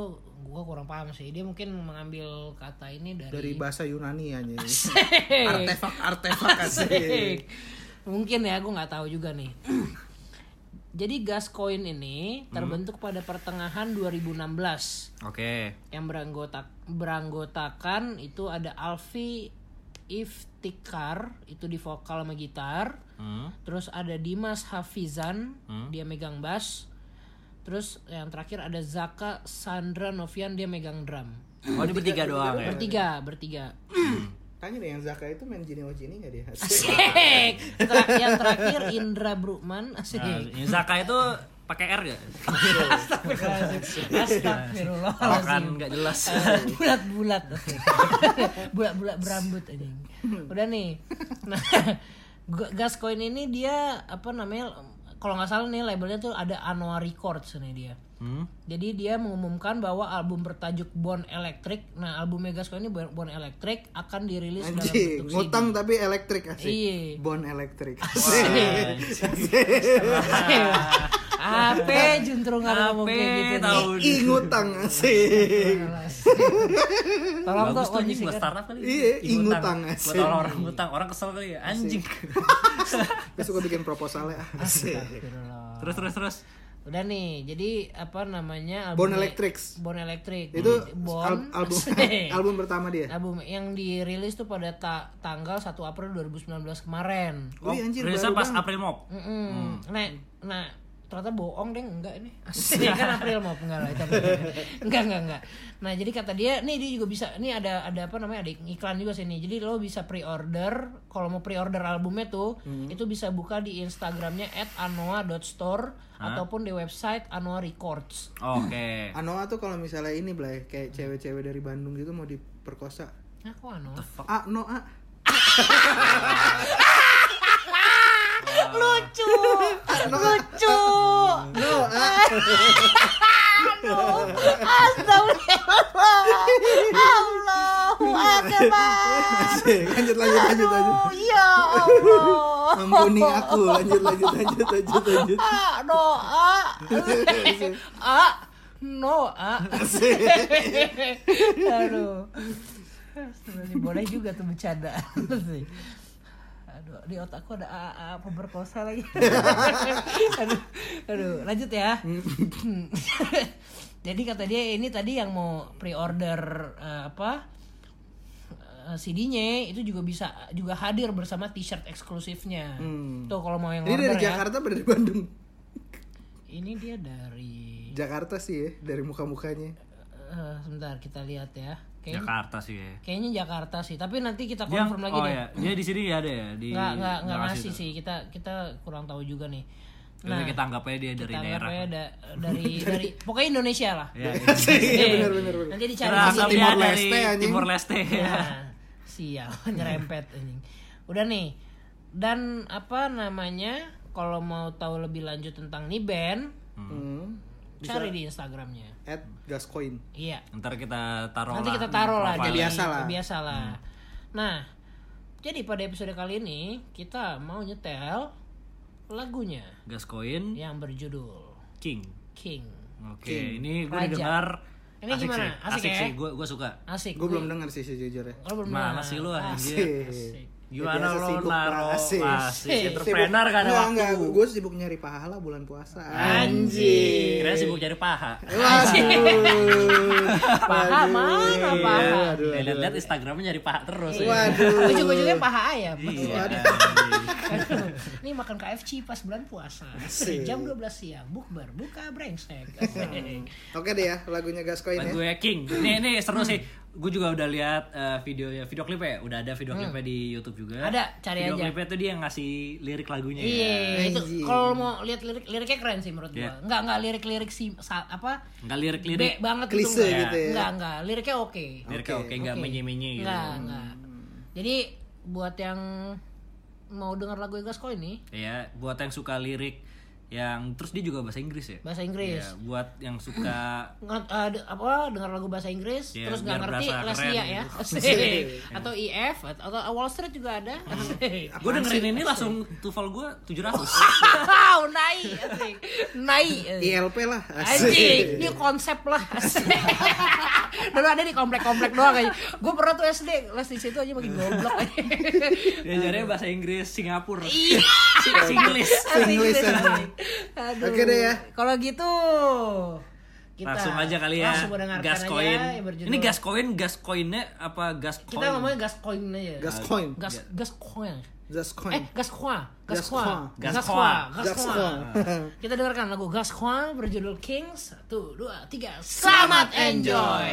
gua kurang paham sih dia mungkin mengambil kata ini dari, Dari bahasa Yunani anjing Artefak, artefak asik mungkin ya gua nggak tahu juga nih jadi Gascoin ini terbentuk pada pertengahan 2016 Oke. yang beranggotak beranggotakan itu ada Alfi Iftikar itu di vokal sama gitar Hmm. terus ada Dimas Hafizan dia megang bass terus yang terakhir ada Zaka Sandra Novian dia megang drum Oh ini bertiga doang ya. bertiga bertiga Tanya deh yang Zaka itu main Jini Ojini gak dia? Asik. Ter- yang terakhir Indra Brukman asik Nah, ini Zaka itu pakai R gak? Makan astagfirullahaladzim gak jelas. bulat-bulat bulat-bulat berambut anjing udah nih nah Ga- Gascoin ini dia apa namanya kalau nggak salah nih labelnya tuh ada Anoa Records nih dia Hmm. Jadi dia mengumumkan bahwa album bertajuk Bon Electric, nah album Megascoin ini Bon Bon Electric akan dirilis Anjing, dalam bentuk ngutang tapi elektrik asik. Iya. Bon elektrik. AP juntrungan ngomong Ape, kayak gitu nih. tahu. I ngutang asik. Tolong kok kan. Bagus tuh anjing buat kondisikan. startup kali. Iya, ingutang, Buat asik. orang-orang ngutang, orang kesel kali ya. Anjing. Terus suka bikin proposalnya asik. Astagfirullah. terus terus terus. Udah nih, jadi apa namanya Bon albumnya- Electrics. Bon Electric. Itu Bon al- album asik. album ya? pertama dia. album yang dirilis tuh pada ta- tanggal 1 April 2019 kemarin. Wih anjir Oh, baru Rilisnya pas banget. April Mop. Mm-mm. Hmm. Nah, nah ternyata bohong deh enggak ini asli kan April mau enggak lah itu enggak enggak enggak nah jadi kata dia nih dia juga bisa nih ada ada apa namanya ada iklan juga sini jadi lo bisa pre-order kalau mau pre-order albumnya tuh Hmm. itu bisa buka di instagramnya at anoa.store ataupun di website anoa records Oke. Anoa tuh kalau misalnya ini Blay, kayak cewek-cewek dari Bandung gitu mau diperkosa. nah kok anoa A no A. lucu lucu No A. astagfirullah Allahu akbar Asik. Lanjut lanjut lanjut lanjut. ya Allah Ampuni aku. Lanjut lanjut lanjut lanjut lanjut. Ah, no ah. Ah, no ah. Aduh. Sebenarnya boleh juga tuh bercanda sih. Aduh, di otakku ada AA pemerkosa lagi. aduh, aduh. lanjut ya. Jadi kata dia ini tadi yang mau pre-order eh, apa eh, CD-nya itu juga bisa juga hadir bersama t-shirt eksklusifnya. Tuh kalau mau yang Hmm. Ini dari order ya. Jakarta apa dari Bandung? Ini dia dari Jakarta sih ya, dari muka-mukanya. eh, sebentar kita lihat ya. Kayaknya, Jakarta sih ya. kayaknya Jakarta sih, tapi nanti kita Dia, confirm lagi oh deh. ya, dia di sini ya ada ya di Nggak nggak nggak Bekasi ngasih tuh. sih kita kita kurang tahu juga nih. Nah, Yaudah, kita anggap aja dia dari kita daerah. anggapnya da- dari dari pokoknya Indonesia lah. Ya, Iya Iya. benar benar benar. Nanti dicari Kira di asal sini. dia Timor dari Leste, anjing. Timor Leste. ya. Nah, sial nyerempet anjing. Udah nih. Dan apa namanya? Kalau mau tahu lebih lanjut tentang nih band, Hmm. cari di Instagramnya. At Gascoin. Iya. Ntar kita taruh Nanti lah kita taruh lah profile. jadi Biasa lah. Hmm. biasa lah. Nah, jadi pada episode kali ini kita mau nyetel lagunya Gascoin yang berjudul King. King. Oke, ini gue Raja. dengar Ini asik gimana? sih. Asik Asik ya? sih, gue gue suka. Asik. Oh, Gue belum dengar sih sejujurnya. Lo belum Mana dengar. sih lu anjing? Asik. Gimana biasa lo sibuk, naro asik. asik Sibuk. entrepreneur kan Enggak, ada waktu. enggak, gue sibuk nyari pahala bulan puasa. Anjing. Kira sibuk cari paha. Waduh. iya, Paha mana paha? Aduh, aduh. Lihat-lihat Eh, Instagramnya nyari paha terus. ya. Waduh. Ujung-ujungnya paha ayam. Iya. Aduh, Ini makan KFC pas bulan puasa. Asik. Jam 12 siang, bukber, buka brengsek. Oke deh ya, lagunya Gascoin ya. Eh, Lagu ya King. Ini ini Hmm. seru sih. Gue juga udah lihat eh, videonya, video klipnya. ya. Udah ada video klipnya di YouTube juga. Hmm. Ada, cari video aja. klipnya tuh dia yang ngasih lirik lagunya. ya. Iya, Anjing. itu kalau mau lihat lirik liriknya keren sih menurut gua. Iya. Enggak enggak lirik-lirik si sa- apa? Enggak B lirik-lirik. banget Klise enggak. gitu ya. Enggak, enggak. Liriknya oke. Liriknya oke, enggak Oke. menye-menye gitu. Enggak, enggak. Jadi buat yang mau dengar lagu Gasko ini Ya, buat yang suka lirik yang terus dia juga bahasa Inggris ya. bahasa Inggris. Ya, buat yang suka Nge- eh, de- apa dengar lagu bahasa Inggris Iya, terus nggak biar ngerti berasa Leslia keren ya gitu. Asik. atau IF atau atau Wall Street juga ada gue dengerin ini langsung tufal gue 700 wow naik asik. naik Iya, asik. ILP lah. anjing ini konsep lah asik. dulu ada di komplek-komplek doang aja gue pernah tuh SD les di situ aja makin goblok aja dia ajarannya bahasa Inggris Singapura Iya. Singlis Singlish, Asik, anjing. Aduh. Oke deh ya. kalau gitu kita langsung aja kali ya langsung mendengarkan Gascoin aja yang berjudul- ini Gascoin Gascoinnya apa Gascoin kita ngomongnya Gascoin aja Gascoin. gas Gascoin eh Gascoin. Gascoin Gascoin. Gascoin Gascoin. Gascoin Gascoin kita dengarkan lagu Gascoin berjudul Kings satu dua tiga selamat enjoy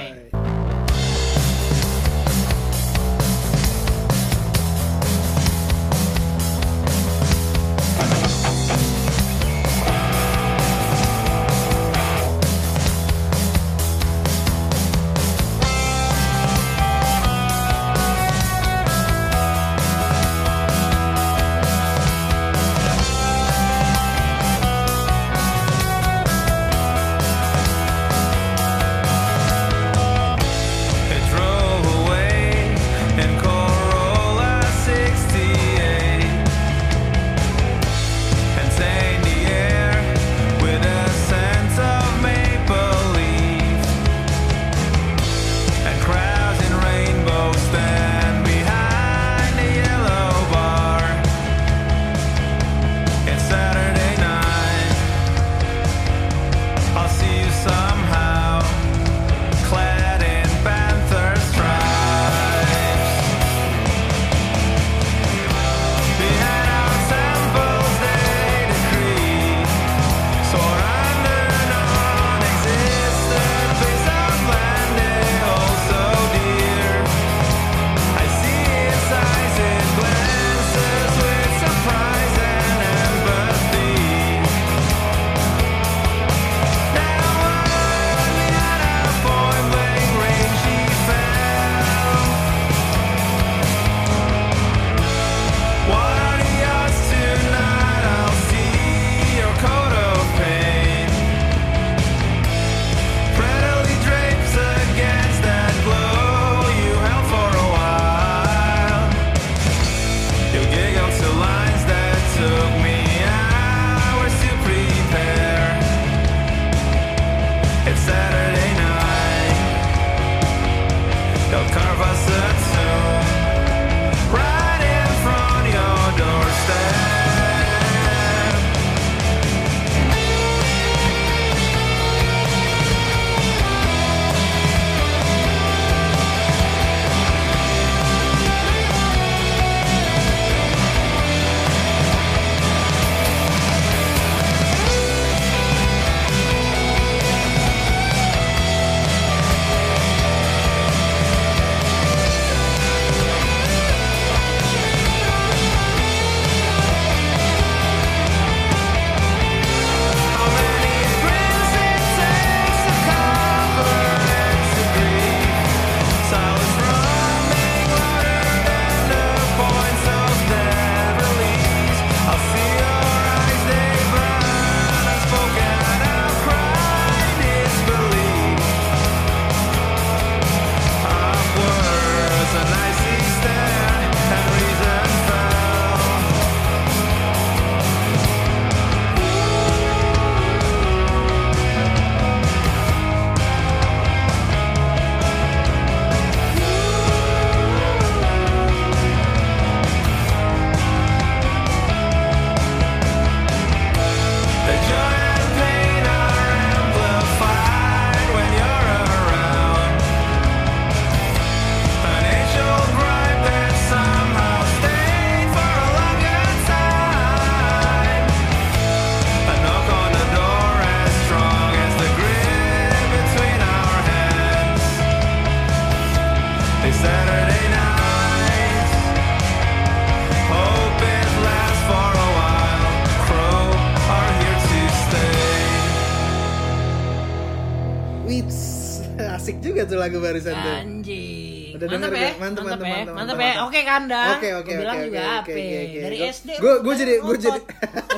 asik juga tuh lagu barusan tuh. Anjing. Udah mantap denger ya. belum? Mantap, mantap, ya. mantap, Mantap mantap, ya. mantap. Oke Kanda. Oke, oke, Gua bilang oke, juga oke, apa? oke, oke. Dari Gua- SD. gua- gua udah jadi- gua ngotot. jadi-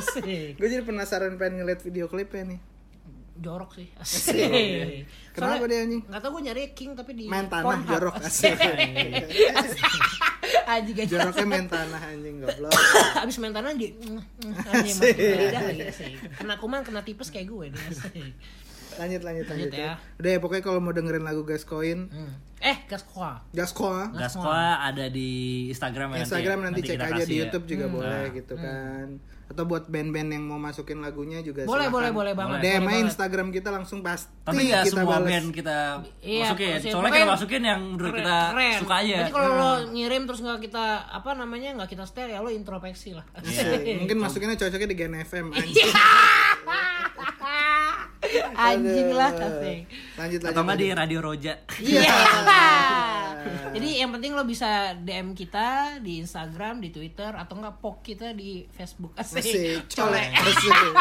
Asik. Gue jadi penasaran pengen ngeliat video klipnya nih. jorok sih. Asik. iya. Kenapa dia anjing? Gak tau gue nyari king tapi di Main tanah Pornhub. jorok asik. Anjing aja. Joroknya main tanah anjing goblok. Abis main tanah Mm, di Anjing masih beda lagi asik. iya Kena kuman kena tipes kayak gue nih asik. Lanjut lanjut lanjut. Lanjut ya. ya. Udah ya pokoknya kalau mau dengerin lagu Gascoin, Hmm. Eh, gas kuah. Gaskoa Hmm. Gaskoa ada di Instagram ya nanti ya. Instagram nanti, cek kita aja kasih di ya. YouTube juga boleh gitu kan. Atau buat band-band yang mau masukin lagunya juga Boleh, silakan. boleh, boleh banget, DM boleh aja banget. Instagram kita langsung pasti Tapi nggak kita semua balas. band gitu kita Iya, masukin. ya. maksudnya Soalnya keren. kita masukin yang menurut kita Keren. suka aja. Berarti kalau lo Hmm. ngirim terus nggak kita apa namanya nggak kita setel ya lo introspeksi lah. Asik. Iya, Mungkin masukinnya cocoknya di Gen FM anjing. Anjing lah asik. Eh, Lanjut lanjut. Atau nggak di lanjut. Radio Roja. Iya. Jadi yang penting lo bisa DM kita di Instagram, di Twitter atau enggak pok kita di Facebook. Asik. Masih colek. Colek. Masih. Colek,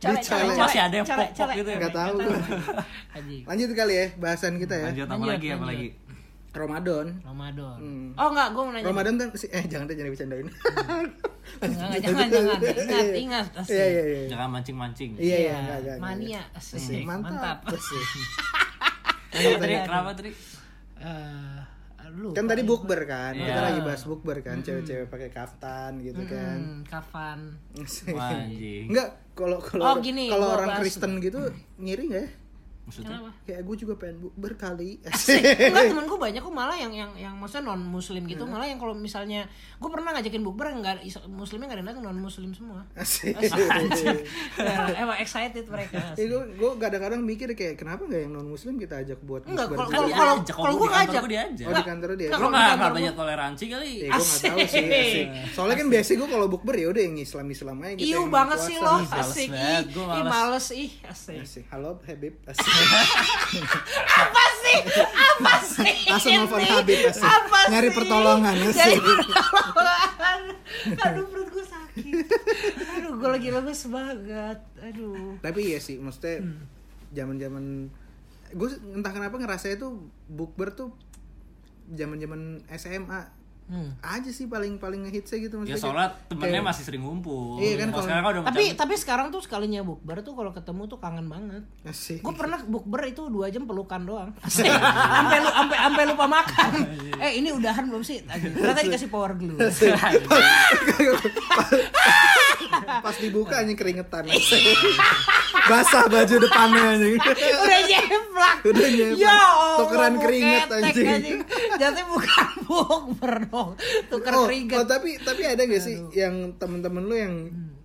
Di colek, colek. Masih ada yang colek, pok-pok colek. gitu ya? Nggak tahu. Anjing. Lanjut kali ya bahasan kita ya. Lanjut apa Lanjut, lagi apa lanjut. lagi? Ramadan. Ramadan. Oh enggak, gue mau nanya. Hmm. Ramadan kan si- eh jangan deh jangan bercandain. Hmm. Enggak, enggak, jangan, jangan. Ingat, ingat. Asik. Iya iya iya. Jangan mancing-mancing. Iya iya enggak, enggak, enggak. Mania. Asik. Asik, Mantap. Mantap. Asik. Kenapa tadi? Kenapa tadi? Eh, lu. Kan tadi bukber kan. Iya. Kita lagi bahas bukber kan, cewek-cewek pakai kaftan gitu kan. Hmm, kapan? Asik. Wah, anjing. Enggak, kalau kalau Oh, gini, kalau gua orang bahas- Kristen gitu ngiri enggak ya? Maksudnya? Kayak gue juga pengen bukber kali. Enggak temen gue banyak kok malah yang yang yang maksudnya non muslim Iya. gitu malah yang kalau misalnya gue pernah ngajakin bukber nggak is- muslimnya nggak ada yang datang non muslim semua Asik. Nah, emang excited mereka Ya, gue kadang-kadang mikir kayak kenapa nggak yang non muslim kita ajak buat Enggak, bukber kalau juga? kalau Diajak, kok kalau kalau gua gue di kantor ngajak gua diajak. Oh, di kantor dia. Enggak, Lo kalau nggak di nggak kantor banyak toleransi kali. Iya, Ya, gue gak tau sih, asik. Soalnya kan biasanya gue kalau bukber ya udah yang Islam-Islam aja gitu. Iu yang banget puasa. sih lo, Ih, males asik ih, banget, gua ih males. males ih, asik. Asik. Halo Habib. Asik. Apa sih? Apa sih? Langsung ini? nelfon Habib asik. Apa Nyari sih? pertolongan Nyari asik. pertolongan. Aduh perut gue sakit. Aduh gue lagi lemes banget. Aduh. Tapi iya sih, maksudnya Hmm. zaman-zaman gue entah kenapa ngerasa itu bukber tuh zaman-zaman SMA aja sih paling-paling ngehitsnya gitu Ya maksudnya. soalnya kayak- temennya kayak- masih sering ngumpul. Iya kan, Kalau kalau- sekarang kan udah Tapi macam- tapi sekarang tuh sekalinya bukber tuh kalau ketemu tuh kangen banget. Asik. Gue pernah bukber itu dua jam pelukan doang. Sampai lu sampai sampai lupa makan. Oh, iya. Eh ini udahan belum sih? Ternyata dikasih power glue. Pas dibuka anjing keringetan. asik. Basah baju depannya anjing. udah nyeplak Udah nyeplak. ya Allah Tukeran keringet, buketek, anjing. jadi bukan bukber dong tuker oh, keringet oh, tapi tapi ada gak sih yang temen-temen lu yang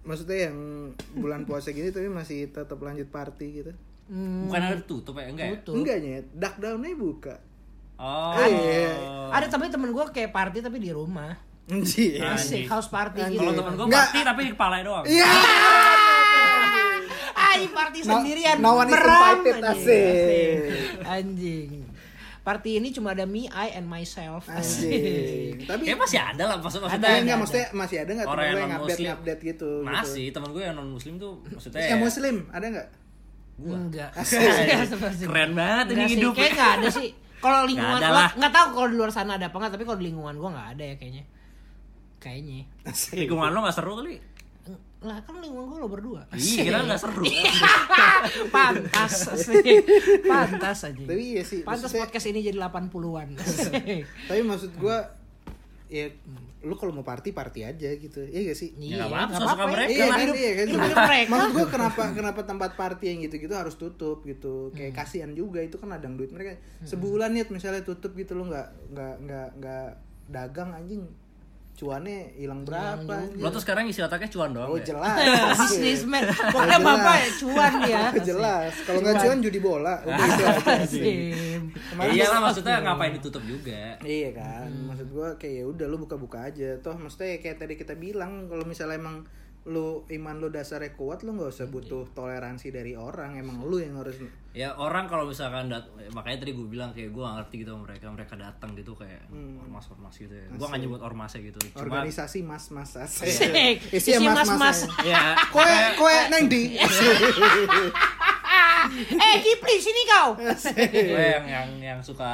maksudnya yang bulan puasa gini tapi masih tetap lanjut party gitu? bukan ada tutup ya enggak ya? Tutup. Enggak nyet, duck down-nya buka. Oh. Iya. ada tapi temen gue kayak party tapi di rumah Anjir. asik house party gitu Kalau temen gue Nggak. pasti tapi di kepala doang. Iya. ah ini party No- sendirian no one is meram, invited, anjing. asik. anjing party ini cuma ada me I and myself Anjir. Tapi Kayak masih ada lah maksud maksudnya. eh, enggak maksudnya masih ada enggak temen Orang lu yang yang update non-muslim. update gitu? gitu? Iya, Masih eh. temen gue yang non muslim tuh maksudnya. Yang muslim ada enggak? enggak Keren banget ini Enggak sih, hidup. kayak nggak ada sih. Kalau lingkungan ada gua lah. nggak tahu kalau di luar sana ada apa nggak, tapi kalau di lingkungan gua nggak ada ya kayaknya. Kayaknya. Lingkungan lo gak seru kali. Eng- Lah kan lingkungan gua lo berdua. Iya, kita gak seru. Pantas sih. Pantas aja. Tapi iya sih. Pantas maksudnya- podcast ini jadi 80-an. tapi maksud gua ya lu kalau mau party party aja gitu. Iya gak sih? Ya, nggak apa-apa, nggak suka mereka Iya lah. kan, iya kan. hidup mereka. Maksud gue kenapa kenapa tempat party yang gitu-gitu harus tutup gitu. Kayak Hmm. kasihan juga itu kan ladang duit mereka. Sebulan nih misalnya tutup gitu lo nggak nggak nggak nggak dagang anjing cuannya hilang berapa anjing. Lo tuh sekarang isi otaknya cuan doang. Oh ya? jelas. Bisnismen. Pokoknya bapak ya cuan ya. Ah. Oh, jelas. Kalau nggak cuan judi bola. Udah gitu. itu aja. Asik. Kemarin Iya lah maksudnya ngapain ditutup juga. Iya kan, Hmm. maksud gua kayak ya udah lu buka-buka aja. Toh maksudnya ya kayak tadi kita bilang kalau misalnya emang lu iman lu dasarnya kuat lu nggak usah Iya. butuh toleransi dari orang emang lu yang harus ya orang kalau misalkan dat makanya tadi gue bilang kayak gue gak ngerti gitu sama mereka mereka datang gitu kayak ormas ormas gitu ya gue gak nyebut ormasnya gitu cuma Hmm. organisasi mas-mas asik. Asik. Iya. Isinya Isi Iya. mas-mas. mas-mas. gitu. aja. ya Koe koe neng di. eh Kipli sini kau Iya, Gue yang yang yang suka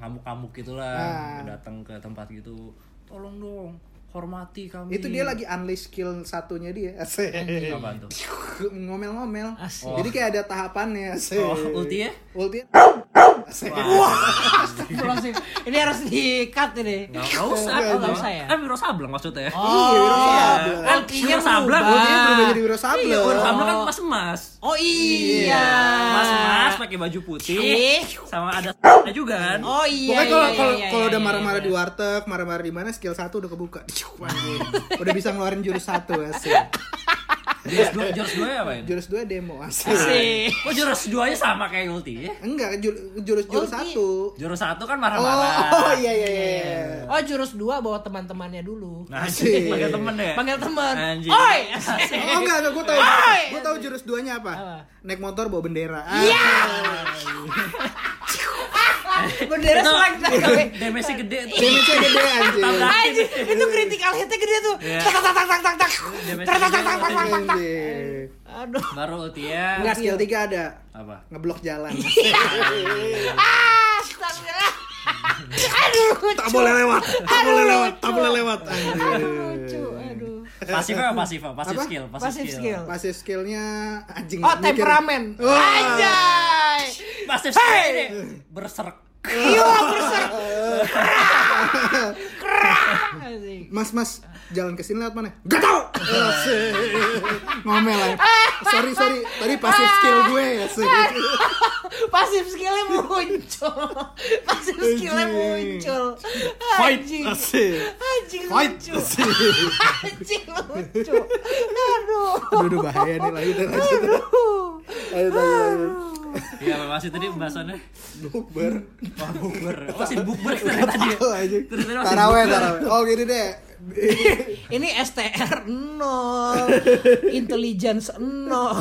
ngamuk-ngamuk gitulah, Ah. datang ke tempat gitu. Tolong dong, hormati kami. Itu dia lagi unleash skill satunya dia. Asik. apa tuh? Ah, Ngomel-ngomel. Asik. Jadi kayak ada tahapannya. Asik. Oh, ulti ya? Ulti. Asik. Astagfirullahaladzim. ini harus di-cut ini Enggak usah. Enggak, enggak usah ya? Oh. Kan Wiro Sableng maksudnya. Iya, Wiro Sableng. kan Wiro kayaknya Sableng, berubah. Ultinya oh, berubah jadi Wiro Sableng. Wiro Sableng kan mas-mas. oh iya Mas-mas pakai baju putih Ih. sama ada juga kan. oh iya Pokoknya kalau iya, kalau iya, kalau iya, udah iya, marah-marah di iya. warteg, marah-marah di mana skill satu udah kebuka. Anjing. udah bisa ngeluarin jurus satu asik. Jurus dua, jurus dua ya, Pak? Jurus dua demo asik. Asik. Kok jurus duanya sama kayak ulti ya? Enggak, jur- jurus jurus Ulti. satu. Jurus satu kan Oh, marah-marah. oh iya iya iya. oh jurus dua bawa teman-temannya dulu Nah, anjing, panggil temen Nah, ya. panggil teman Anjing. oi Oh enggak, enggak gue tahu. Oi. Gue tahu jurus duanya apa? Apa? Naik motor bawa bendera. Ah, Iya. bendera Itu selang Damage-nya gede tuh. Damage-nya gede anjing. Anjir, itu critical hit-nya gede tuh. Iya. Tak tak tak tak tak tak. Tak tak tak tak tak tak tak. Anjing. Aduh. Baru ulti ya. Enggak skill 3 ada. Apa? Ngeblok jalan. Ah, astagfirullah. Aduh, lucu. tak boleh lewat. Tak boleh Aduh, lewat. Tak lucu. boleh lewat. anjing. Lucu, aduh. Pasifnya apa pasif? Pasif Apa? skill, pasif Pasif skill. skill. Pasif skillnya anjing. Oh, mikir. temperamen. Wah. Anjay. Pasif skill ini berserk. Iya, berser. Kerah. Kerah. Mas, mas, jalan ke sini lewat mana? Gak tau! Asik. Ngomel aja. Sorry, sorry. Tadi pasif skill gue. ya, asik. pasif skillnya muncul pasif skillnya Anjing. muncul Fight. anjing Asik. anjing Fight. lucu assim. Asik. anjing lucu aduh Aduh, aduh, bahaya nih lagi dan lagi. aduh Ayo tanya Iya, masih tadi pembahasannya. Bukber. Wah, bukber. Oh, masih bukber dari tadi. ya? Oh, anjing. Terus tadi masih Taraweh, bukber. taraweh. Oh, gini deh. ini STR nol intelligence nol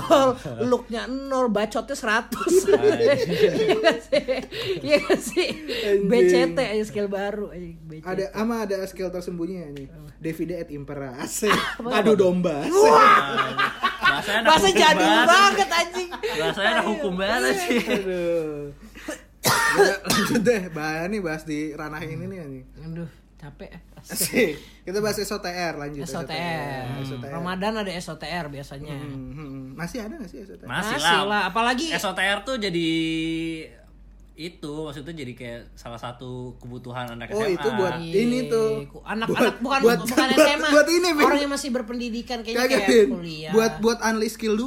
looknya nol bacotnya Iya 100 iya gak sih BCT aja skill baru aja BCT. Ada ama ada skill tersembunyi ya nih. Davide et Impera. Asik. Ah, Adu domba. Asik. Bahasanya anak bahasa hukum jadul banget. banget anjing Iya. Bahasanya ada hukum banget sih. Aduh. Ya, Lanjut deh, bahaya nih bahas di ranah ini nih anjing. aduh capek Asik. Kita bahas SOTR lanjut. SOTR. SOTR. Ramadan ada SOTR biasanya. Hmm, hmm. Masih ada gak sih SOTR? Masih Masih lah, lah. apalagi- SOTR tuh jadi itu maksudnya jadi kayak salah satu kebutuhan anak Oh, SMA. itu buat ini tuh. Nah, iya. Ku- anak-anak bukan Buat- buat- bukan buat- SMA. buat ini, Vin. orang yang masih berpendidikan kayaknya Kagak, kayak Vin. kuliah. Buat buat unleash skill 2.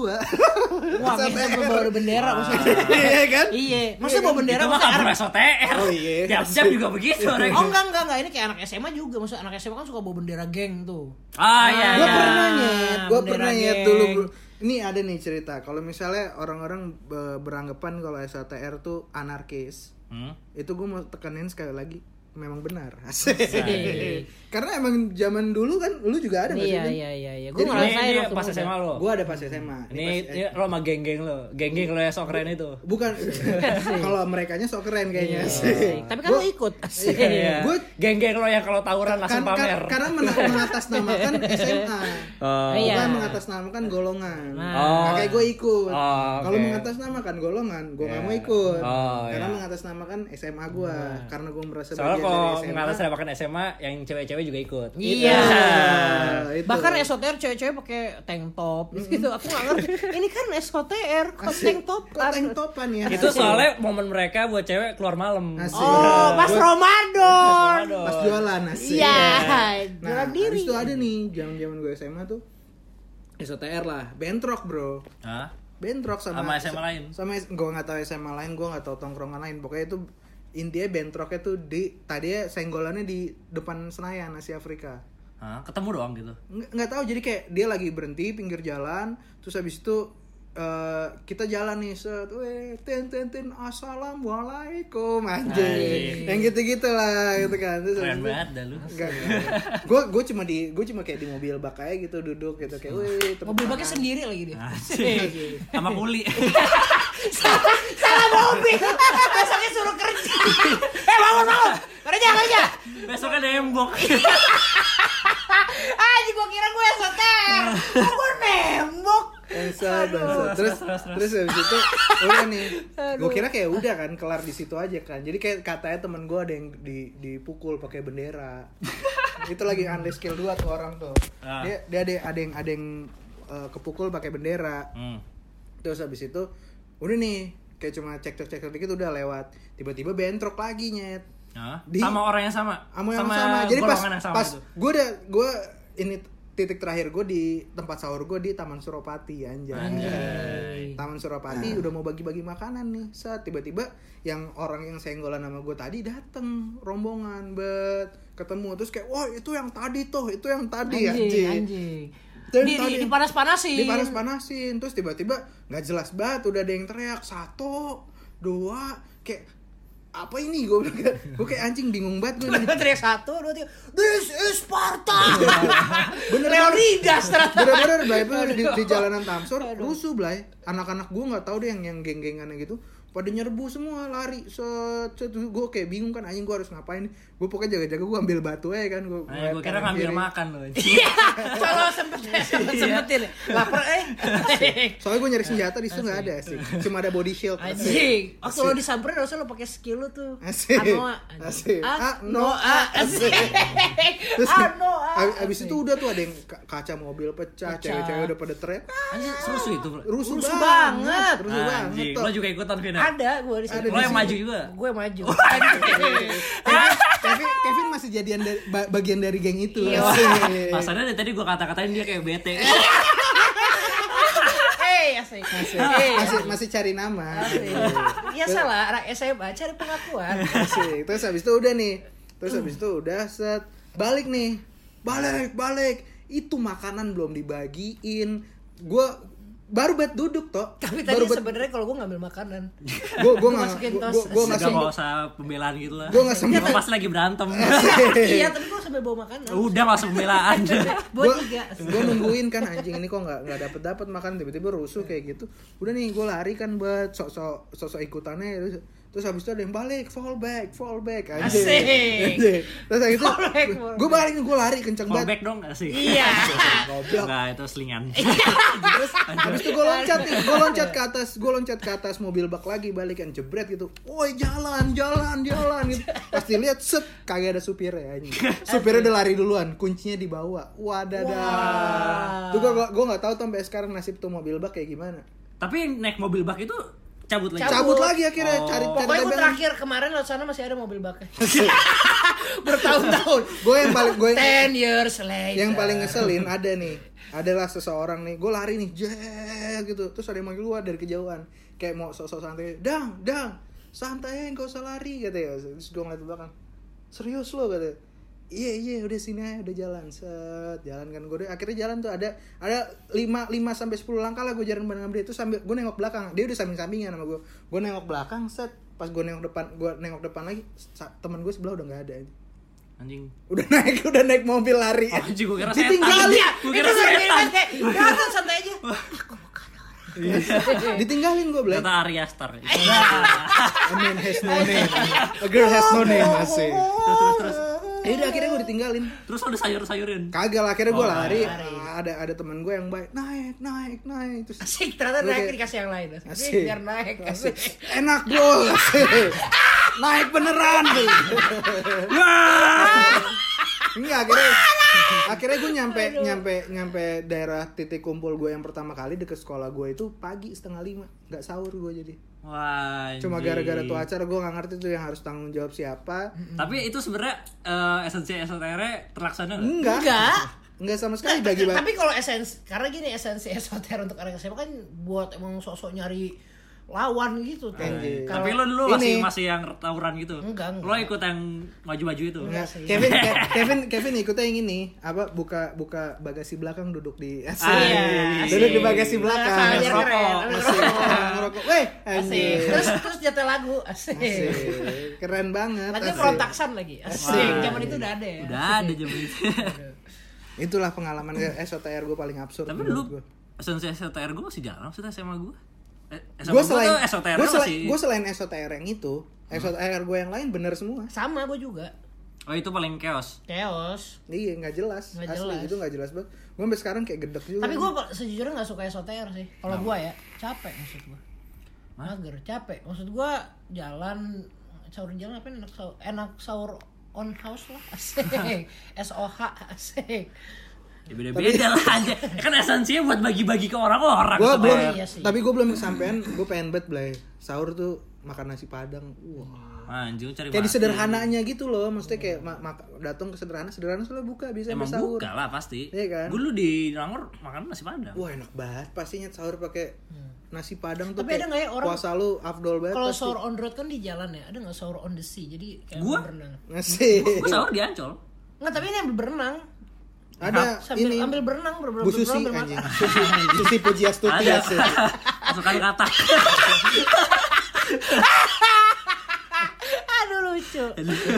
Wah, kita bawa bendera maksudnya. Iya kan? Iya, maksudnya bawa bendera Itu mah maksudnya kabur anak- SOTR. Oh, iya. Tiap jam juga begitu orang. Oh enggak enggak enggak ini kayak anak SMA juga maksudnya anak SMA kan suka bawa bendera geng tuh. Ah iya. Gue iya. pernah nyet, gue bendera pernah nyet geng. dulu. bro. Ini ada nih cerita. Kalau misalnya orang-orang be- beranggapan kalau SOTR tuh anarkis, Hmm? itu gue mau tekenin sekali lagi memang benar karena emang zaman dulu kan lu juga ada nggak sih, Iya Vin? iya iya iya. Gue Jadi Ini, ngerasain ini waktu pas muda. Iya, SMA lo. gua ada pas SMA Ini, Pas- ini lo sama geng-geng lo. Geng-geng lo yang sok keren itu. bukan kalau merekanya sok keren kayaknya Iya, Asik. Tapi kan lo ikut. Asik. Iya. Gua- Geng-geng lo yang kalau tawuran kan, langsung kan- pamer. karena mena- mengatasnamakan SMA Eh, Iya. Nah. bukan mengatasnamakan kan golongan Oh. makanya gue ikut Oh, oke. kalau mengatasnamakan kan golongan gue nggak mau ikut Oh, karena iya. mengatasnamakan SMA gue Nah. karena gue merasa bagian Soalnya kalau Iya, dari SMA mengatas kan SMA, yang cewek-cewek juga ikut. Iya. Nah, itu. Bahkan SOTR cewek-cewek pakai tank top gitu. Aku nggak ngerti. Ini kan SOTR kok Asik. tank top. Kok tank topan ya Itu soalnya momen mereka buat cewek keluar malam. Asik. Oh. Oh, pas Ramadan. Aduh. pas jualan asik Iya, Nah, jualan habis diri. itu ada nih zaman-zaman gue SMA tuh SOTR lah, bentrok bro, Hah? bentrok sama, Sama SMA lain? sama gue nggak tahu SMA lain, gue nggak tahu tongkrongan lain, pokoknya itu intinya bentroknya tuh di tadinya senggolannya di depan Senayan Asia Afrika, Hah? Ketemu doang gitu. Nggak- nggak tahu jadi kayak dia lagi berhenti pinggir jalan, terus habis itu eh, kita jalan nih set, weh, ten ten ten, assalamualaikum anjing, yang gitu gitu lah gitu kan, terus habis Keren itu- banget dah lu. Enggak, gue gue cuma di gue cuma kayak di mobil bak aja gitu duduk gitu kayak wih tepuk Mobil baknya tangan." sendiri lagi dia. Iya, Sama kuli. salah, salah mobil. Besoknya suruh kerja. eh bangun bangun. Kerja kerja. Besoknya nembok. Ah, jadi gua kira gue SOTR. Kok gue nembok? Bangsat, bangsat. Terus terus habis itu udah nih. Gue kira kayak udah kan kelar di situ aja kan. Jadi kayak katanya temen gue ada yang di dipukul pakai bendera. itu lagi unleash skill 2 tuh orang tuh. Ah. Dia dia ada ada yang ada yang eh, kepukul pakai bendera. Hmm. Terus habis itu udah nih kayak cuma cekcok-cekcok dikit udah lewat. Tiba-tiba bentrok lagi nyet. Hah? Di- sama orang yang sama. Sama yang sama. Jadi pas golongan yang sama pas itu. gue udah gue ini titik terakhir gue di tempat sahur gue di Taman Suropati anjay. Taman Suropati udah mau bagi-bagi makanan nih. Saat tiba-tiba yang orang yang senggolan sama gue tadi dateng rombongan bet ketemu terus kayak wah itu yang tadi tuh itu yang tadi anjing, anjing. anjing. Dan Di, tadi- di, dipanas-panasin. Dipanas-panasin terus tiba-tiba nggak jelas banget udah ada yang teriak satu dua kayak apa ini gue bilang kayak- gue kayak anjing bingung banget gue Bener teriak satu, dua, tiga. This is Sparta. Bener Leonidas ternyata. bener-bener Blay, bener di, di jalanan Tamsur rusuh Blay anak-anak gue nggak tahu deh yang yang geng-gengannya gitu pada nyerbu semua lari set set gue kayak bingung kan anjing gue harus ngapain gue pokoknya jaga-jaga gue ambil batu aja kan gue Nah, gue kira ngambil makan loh. Iya, kalau sempet sempet sempetin. Lapar eh. soalnya gue nyari senjata di situ nggak ada sih cuma ada body shield Anjing. Oh, kalau disamperin harusnya lo pakai skill lo tuh. Asik. Anoa. Asik. Anoa. Anoa. Asik. Terus Anoa. ab- abis itu udah tuh ada yang ka- kaca mobil pecah, Pecah. cewek-cewek udah pada teriak. "Ah, Anjir, seru itu. Bro. Rusuh, Rusuh banget. banget, rusuh banget. Anjir, Tok. lo juga ikutan Vina. Ada gue di Ada situ. di Lo yang sini. maju juga. Gue maju. Kevin, Kevin, Kevin masih jadian dari- ba- bagian dari geng itu. Iya. Asik. Pasalnya dari tadi gue kata-katain dia kayak bete. Eh, asik. Eh, Masih, masih cari nama. asik. Ya salah, anak SMA cari pengakuan. Asik. Terus habis itu udah nih. Terus habis itu udah set balik nih. Balik, balik. Itu makanan belum dibagiin. Gue baru bet duduk toh. Tapi tadi baru bet sebenarnya kalau gue ngambil makanan. gue gue nggak masukin gue- tos. gue gue nggak Gak sempet mau usah pembelaan gitu lah. Gua nggak sempet. Gua Pas lagi berantem. Iya, tapi gue sambil bawa makanan. Udah nggak usah pembelaan. Buat tiga. gue nungguin kan anjing ini kok nggak nggak dapet dapet makan tiba-tiba rusuh kayak gitu udah nih gue lari kan buat sok-sok sok-sok ikutannya terus, terus habis itu ada yang balik fall back fall back anjing Asik. Anjing. terus habis itu Fall back, fall gue balik gue lari kenceng banget Callback dong gak sih? Iya. goblok Enggak, itu selingan. terus habis itu gue loncat nih gue loncat ke atas gue loncat ke atas mobil bak lagi balik yang jebret gitu woi jalan jalan jalan gitu pasti lihat set kagak ada supirnya anjing supirnya udah lari duluan kuncinya dibawa wadah tuh gue gue nggak tahu tuh sampai sekarang nasib tuh mobil bak kayak gimana Tapi yang naik mobil bak itu cabut lagi. cabut, lagi akhirnya cari cari Pokoknya gue tebengan terakhir kemarin laut sana masih ada mobil bakar. Bertahun-tahun. gue yang paling gue Ten years later. yang paling ngeselin ada nih adalah seseorang nih gue lari nih jet gitu terus ada yang manggil gue dari kejauhan kayak mau sok-sok santai dang dang santai gak usah lari kata ya terus gue ngeliat ke belakang serius lo kata iya iya udah sini aja udah jalan set jalan kan gue akhirnya jalan tuh ada ada 5 lima sampai 10 langkah lah gue jalan bareng sama dia itu sambil gue nengok belakang dia udah samping sampingan sama gue gue nengok belakang set pas gue nengok depan gue nengok depan lagi sa- teman gue sebelah udah nggak ada Anjing. udah naik udah naik mobil lari Oh, Anjing gue kira setan. Nah, ditinggalin Gue iya. Itu kira santai setan. aja. Udah santai aja. ditinggalin gue belai Kata Arya Star. a man has no name a girl has no name asik Terus terus terus. ya udah akhirnya gue ditinggalin Terus lo sayur-sayurin. kagak lah akhirnya gue Oh, lari ada ada teman gue yang baik naik naik naik terus Asik, ternyata Oke. naik dikasih yang lain. Asik. Asik. Biar naik. Asik. enak bro asik. naik beneran Enggak akhirnya akhirnya gue nyampe nyampe nyampe daerah titik kumpul gue yang pertama kali deket sekolah gue itu pagi setengah lima nggak sahur gue jadi Wah. cuma anjing. gara-gara tuh acara gue nggak ngerti tuh yang harus tanggung jawab siapa Hmm. Tapi itu sebenarnya eh, esensi SLTR terlaksana nggak? enggak Enggak. Enggak sama sekali bagi bagi. Nah, Tapi kalau esensi, karena gini esensi esoter untuk orang SMA kan buat emang sosok nyari lawan Ah, gitu tuh. Anjing. Kalau- Tapi lo dulu Ini. masih masih yang tawuran gitu. Enggak, enggak. Lo ikut yang maju-maju itu. Enggak sih. Kevin Ke- Kevin Kevin ikutnya yang ini apa buka buka bagasi belakang duduk di Ah, iya, duduk di asik. bagasi belakang Belakang, Asik. biar Nah, keren. Asik. ngerokok weh Asik. anjing Terus terus nyetel lagu. Asik. Asik. keren banget Lagu asik. perontaksan lagi. Asik. Zaman itu udah ada ya. Udah ada jam itu. itulah pengalaman SOTR gue paling absurd Tapi menurut dulu gua. esensi SLTR gue masih jarang sih SMA gue. Eh, SMA gue gue selain tuh SLTR gue masih. selain gue selain SOTR yang itu SOTR gue yang lain bener semua Sama gue juga. Oh itu paling chaos. chaos Iya nggak jelas, Nggak asli jelas. itu nggak jelas banget. Gue sampai sekarang kayak gedek juga. tapi gue sejujurnya nggak suka SOTR sih kalau gue ya capek maksud gue mager capek maksud gue jalan sahur jalan apa enak sahur enak sahur on house lah asik SOH asik Ya beda-beda lah aja. Kan esensinya buat bagi-bagi ke orang-orang. Gua Sobat. belum, Iya sih. tapi gue belum kesampean. Gue pengen banget Blay. sahur tuh makan nasi padang. Wah. Nah, Anjing lu cari Kayak di mati. sederhananya gitu loh, maksudnya kayak ma- mak- datang ke sederhana, sederhana selalu buka biasanya Ya, Emang sampai sahur. buka lah pasti. Iya kan? Gue lu di Langor makan nasi padang. Wah enak banget, pastinya sahur pakai nasi padang Hmm. tuh. Tapi ada kayak nggak ya orang- puasa lu afdol banget? kalau pasti. sahur on road kan di jalan ya ada nggak sahur on the sea jadi kayak Gua? berenang Nasi. Gue sahur di Ancol. nggak tapi ini ambil berenang ada sambil ini. ambil berenang berenang Bu Susi berenang, anjing. Susi, Susi Pujiastuti Ada. asik. Masukan kata. aduh lucu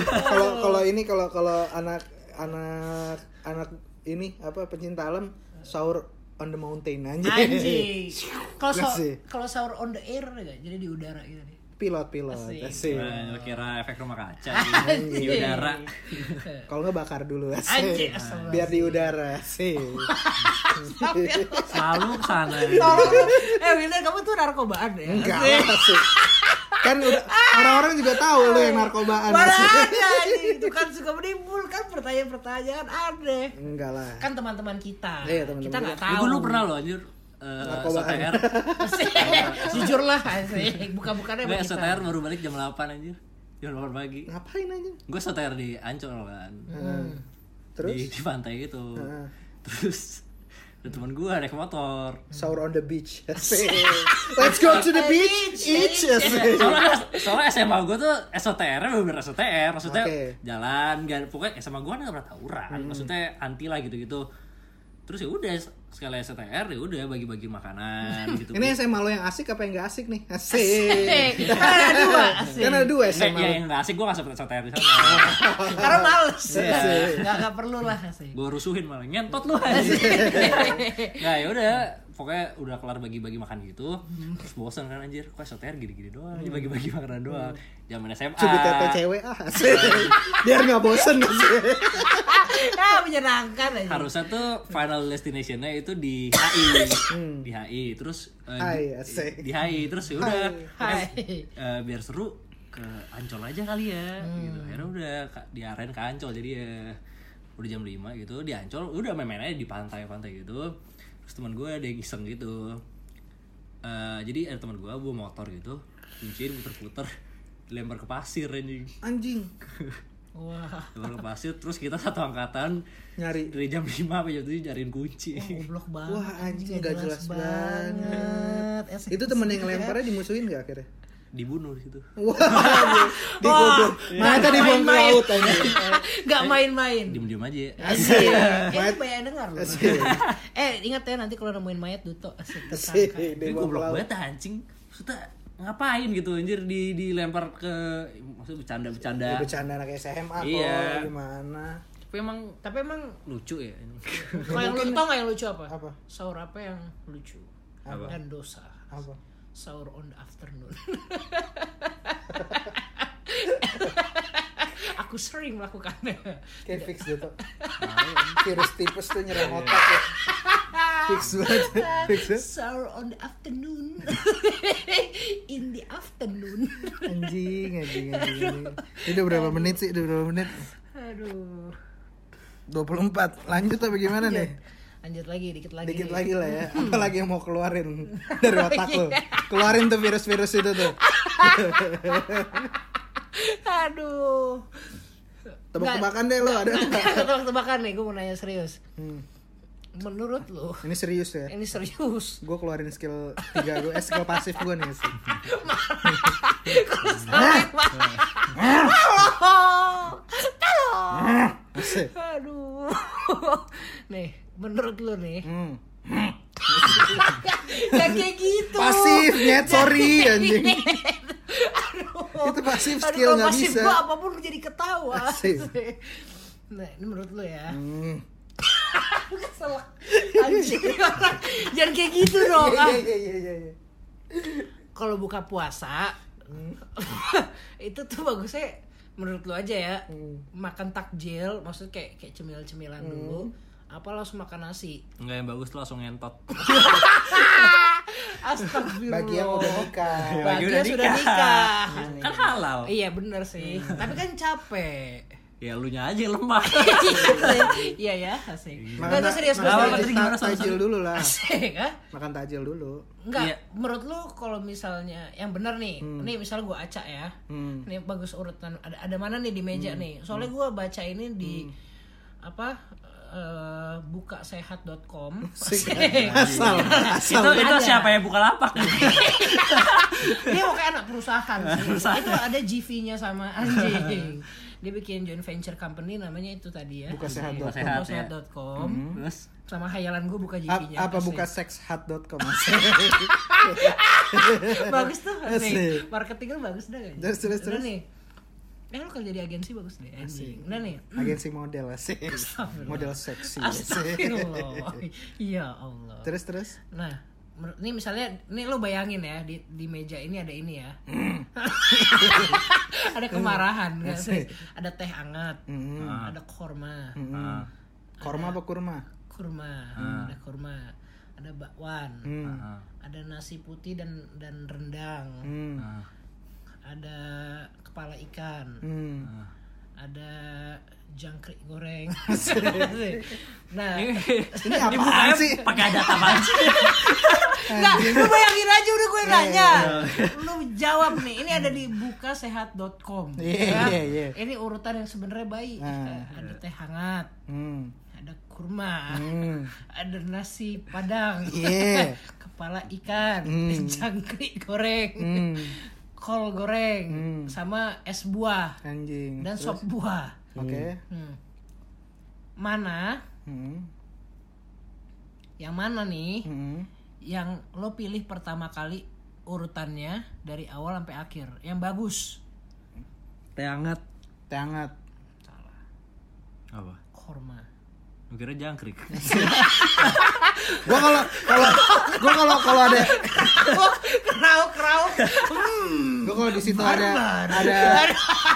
Kalau kalau ini kalau kalau anak anak anak ini apa pencinta alam sahur on the mountain aja. anjing kalau sahur Asik. kalau sahur on the air nggak jadi di udara gitu nih Pilot pilot Asik. asik. Nah, kira efek rumah kaca Anjing. di udara. Kalau nggak bakar dulu Anjing, asik. astagfirullah. Biar di udara asik. Selalu kesana. Tolong. ya. eh Wildan kamu tuh narkobaan ya Enggak lah, asik. Kan udah orang-orang juga tahu lu yang narkobaan Mana asik. ada anjing. itu kan suka menimbulkan pertanyaan-pertanyaan aneh Enggak lah. kan teman-teman kita Iya, teman-teman kita nggak Gue tahu lu Ya, pernah loh anjir. eh, Narkobaan. SOTR. jujurlah asik buka-bukannya sama Gue kita. SOTR baru balik jam 8 anjir. Jam 8 pagi. Ngapain aja? Nah, Gue SOTR di Ancol kan. Hmm. Terus Nah, Di, di pantai gitu. Heeh. Terus ada teman gue naik motor. sahur on the beach. Asik. Let's go to the beach. Each. Asik. soalnya soalnya SMA gue tuh eh, SOTR-nya bener SOTR maksudnya Oke. Hmm. jalan gak pokoknya SMA gue kan nggak pernah tawuran maksudnya anti lah gitu gitu terus ya udah sekali SOTR ya udah bagi-bagi makanan gitu Ini SMA lo yang asik apa yang gak asik nih? Asik. Asik. Kan ada dua, asik. Kan ada dua Nggak, SMA. ya, lo. yang nggak asik gue nggak sempet SOTR di sana karena males Iya. nggak nggak perlu lah asik gue rusuhin malah nyentot lu aja nah ya udah pokoknya udah kelar bagi-bagi makan gitu terus bosan kan anjir kok SOTR gini-gini doang ini bagi-bagi makanan doang zaman SMA Cubit tete cewek ah. Asik. Biar gak bosen. Asik. ah menyenangkan aja harusnya tuh final destinationnya itu di HI Hmm. di HI terus eh, Hai, di- asik. di HI terus ya udah Hai. pokoknya, eh, biar seru ke Ancol aja kali ya Hmm. gitu akhirnya udah ka- diarahin ke Ancol jadi ya udah jam 5 gitu di Ancol udah main-main aja di pantai-pantai gitu terus teman gue ada yang iseng gitu Eh, jadi ada teman gue bawa motor gitu kunciin puter-puter dilempar ke pasir anjing Anjing. wah dilempar ke pasir terus kita satu angkatan Nyari. dari jam 5 sampai jam 7 nyariin Oh kunci goblok banget Wah anjing gak jelas banget. Eh, Asik. ya. Iya, Itu temen yang ya. lemparnya dimusuhin gak akhirnya? dibunuh di situ Wah, digobok. Mata dibuang ke laut anjing. nggak main-main diem diem aja ya asik eh Iya, Mayat- itu banyak yang dengar loh Asik. eh ingat ya nanti kalau nemuin mayat duto asik Asik. tersangka Dibuang tapi ke goblok laut. banget anjing maksudnya ngapain gitu anjir di dilempar ke maksudnya bercanda bercanda Ya, Bercanda anak SMA Iya. kok gimana? tapi emang tapi emang lucu ya kalau yang lucu tau nggak yang lucu apa? Apa? sahur apa yang lucu Apa? dan dosa Apa? sahur on the afternoon aku sering melakukannya Kayak fix gitu. Virus tipes tuh nyerang otak ya. Fix banget. Fix ya. banget. Sour on the afternoon. In the afternoon. Anjing, anjing, anjing. anjing. Ini udah berapa menit sih? Udah berapa menit? Aduh. 24. Lanjut apa gimana Iya. nih? Lanjut lagi, dikit lagi. Dikit lagi lah ya. Hmm. Apa lagi yang mau keluarin dari otak Oh, lu? iya. Keluarin tuh virus-virus itu tuh. Aduh. Tebak-tebakan deh lu ada. nggak? Tebak-tebakan nih, gue mau nanya serius. Hmm. Menurut lu, Ini serius ya. ini serius. Gue keluarin skill 3 gue, eh skill pasif gue nih sih. Kalau sampai Nah. Halo. Halo. Nah. Asik. Aduh. Nih, menurut lu nih. Hmm. Gak kayak gitu. Pasif, nyet, sorry anjing. Aduh. Itu pasif Aduh, skill, kalau nggak pasif bisa. gua apapun jadi ketawa. Pasif. Nah, ini menurut lo ya. Hmm. Kesel. Anjing. Jangan kayak gitu dong. ah. Iya, iya, iya, iya, iya. Kalau buka puasa itu tuh bagusnya menurut lu aja ya Hmm. makan takjil maksud kayak kayak cemil-cemilan dulu apa langsung makan nasi Enggak yang bagus tuh langsung ngentot. astagfirullah Bagi yang udah Oh. nikah. Bagi udah yang sudah nikah kan halal. iya bener sih Hmm. tapi kan capek Ya lu nya aja lemah. iya ya asik Makan nggak tuh ta- serius makan ta- serius. Tadi gimana, Sam? tajil dulu lah. asik ah Makan tajil dulu. Enggak, Iya. menurut lu kalau misalnya yang benar nih, nih misalnya gue acak ya, Hmm. nih bagus urutan ada ada mana nih di meja nih? Soalnya gue baca ini di Hmm. apa eh, bukasehat.com. Asal, asal. ya? itu itu Ada. siapa yang buka lapak? Ini kayak anak perusahaan sih. Itu ada GV-nya sama anjing. Dia bikin joint venture company namanya itu tadi ya. Bukasehat.com. Bukasehat.com. Terus Sama hayalan gue buka Hmm. Ap- GV-nya. apa Asik. buka sexhat.com bagus tuh Asik. nih marketing lu bagus dah kan Eh, Terus, terus, terus. nih eh lu kerja di agensi bagus deh anjing udah nih Hmm. agensi model sih model seksi asik. astagfirullah ya Allah terus terus nah menurut- ini misalnya ini lu bayangin ya di, di meja ini ada ini ya Hmm. ada kemarahan nggak sih ada teh hangat Ah. Mm. ada korma Mm. korma apa kurma kurma Ah. ada kurma ada bakwan Mm. Ah. Nah. ada nasi putih dan dan rendang Mm. ada kepala ikan Mm. ada jangkrik goreng. nah, ini apaan sih pakai ada tapan enggak, lu bayangin aja udah Iya, gue nanya. Lu jawab nih, ini ada di bukasehat.com. Iya, ya. iya, iya. Ini urutan yang sebenarnya baik. Ah. Ada teh hangat, Mm. ada kurma, Mm. ada nasi padang, Iya. kepala ikan, Hmm. jangkrik goreng, Mm. kol goreng, Hmm. sama es buah anjing dan Terus? sop buah. oke Hmm. Mana? Mm. Yang mana nih? Mm. yang lo pilih pertama kali urutannya dari awal sampai akhir yang bagus Teh hangat. teh hangat Apa? korma Lu kira jangkrik. gua kalau kalau gua kalau kalau ada kerau kerau gua kalau di situ ada ada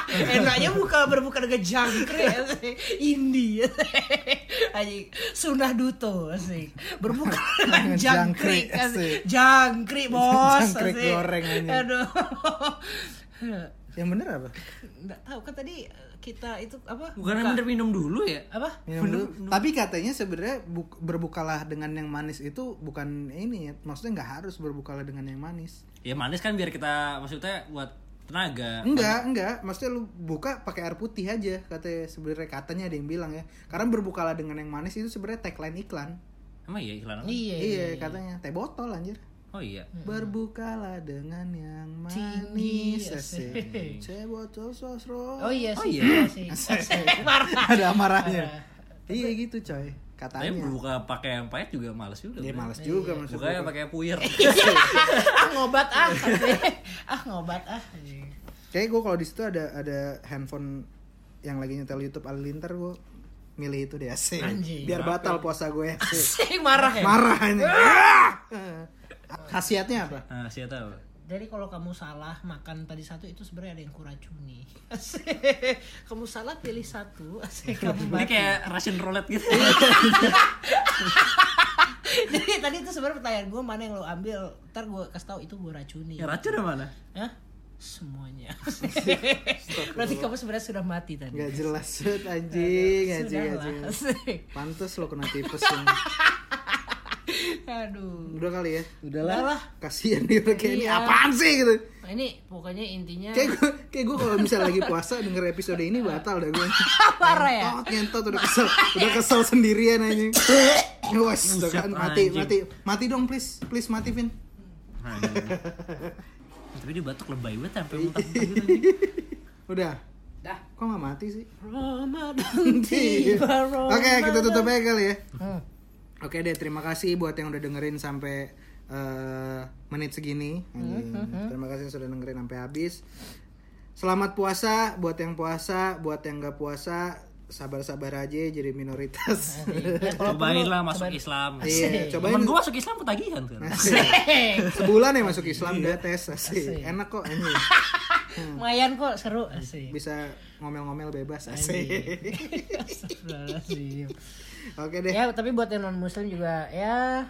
enaknya buka berbuka dengan jangkrik India Anjing, sunah duto asik berbuka dengan Dengan jangkrik jangkrik, asik. asik. jangkrik bos Jangkrik asik. goreng, anjing. aduh yang bener apa nggak tahu kan tadi kita itu apa Bukan buka- bener minum dulu ya? apa Minum dulu. Tapi katanya sebenarnya buk- berbukalah dengan yang manis itu bukan ini, ya. maksudnya nggak harus berbukalah dengan yang manis. Ya manis kan biar kita maksudnya buat tenaga. Enggak, enggak. Maksudnya lu buka pakai air putih aja katanya sebenarnya katanya ada yang bilang ya. Karena berbukalah dengan yang manis itu sebenarnya tagline iklan. Emang iya iklan apa? iya Hmm. Iya, katanya teh botol anjir. Oh iya. Berbukalah dengan yang Tinggi, manis. asik. asik. Teh botol sosro. Oh iya Oh sih, iya. iya sih. Parah. Ada amarahnya. Iya gitu coy. Tapi Katanya. buka pakai yang pahit juga males juga. Dia Iya, Bro. males Iya, juga Buka ya, maksudnya. yang pakai puyer. ah ngobat ah. ah ngobat ah. Kayaknya gue kalau di situ ada ada handphone yang lagi nyetel YouTube Alilintar gue milih itu deh asik. Anjing. Biar batal puasa gue asik. Sing marah ya. Marah ini. Ah! Khasiatnya apa? Nah, saya tahu. Jadi kalau kamu salah makan tadi satu itu sebenarnya ada yang kuracuni. kamu salah pilih satu, kamu Ini mati. kayak Russian roulette gitu. Jadi tadi itu sebenarnya pertanyaan gue mana yang lo ambil, ntar gue kasih tahu itu gue racuni. ya racun mana? Hah? Semuanya. Berarti kamu sebenarnya sudah mati tadi. Gak jelas banget, anjing, anjing, Sudahlah. anjing. Pantes lo kena tipes yang Aduh. udah kali ya. Udahlah. Udahlah. Kasihan dia kayak ini Iya. apaan sih gitu. Nah, ini pokoknya intinya Kayak gue kayak gue kalau misalnya lagi puasa denger episode ini batal dah gue. parah ya. Ngentot, ngentot udah kesel, udah kesel sendirian anjing. Wes, udah kan mati, mati, mati dong please, please mati Vin. Tapi dia batuk lebay banget sampai muntah-muntah gitu. Udah. Dah. Kok nggak mati sih? Ramadan tiba Ramadan. Oke, kita tutup aja kali ya. Hmm. Oke deh, terima kasih buat yang udah dengerin sampai eh, menit segini. Hmm, Anjing. Terima kasih yang sudah dengerin sampai habis. Selamat puasa buat yang puasa, buat yang nggak puasa, sabar-sabar aja jadi minoritas. Cobain lah masuk Islam. Iya, Temen cobain gue masuk Islam ketagihan kan. Iya. Asik. sebulan ya masuk Islam udah tes asik. Enak kok anjing. Mayan kok seru asik. Bisa ngomel-ngomel bebas Asik. asik. Astagfirullahaladzim. Oke deh. ya tapi buat yang non muslim juga ya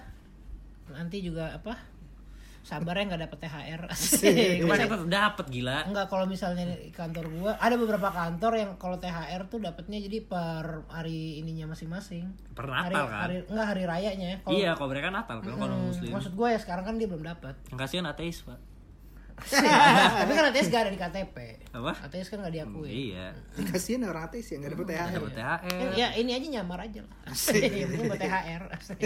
nanti juga apa sabar ya nggak dapet thr asik. Kemarin tetap dapet gila. Enggak Iya. kalau misalnya di kantor gua ada beberapa kantor yang kalau THR tuh dapatnya jadi per hari ininya masing-masing. Per Hari, Natal kan? hari enggak hari rayanya ya. Kalau- Iya, kalau mereka Natal kan kalau Hmm, muslim. Maksud gua ya sekarang kan dia belum dapat. Yang kasihan ateis, Pak. Tapi kan ATS gak ada di KTP. Apa? ATS kan gak diakui. Iya. Kasihan ya orang ateis ya nggak dapet THR. Dapat THR. Ya, ini aja nyamar aja lah. Asik. Ini buat THR. Iya. Asik.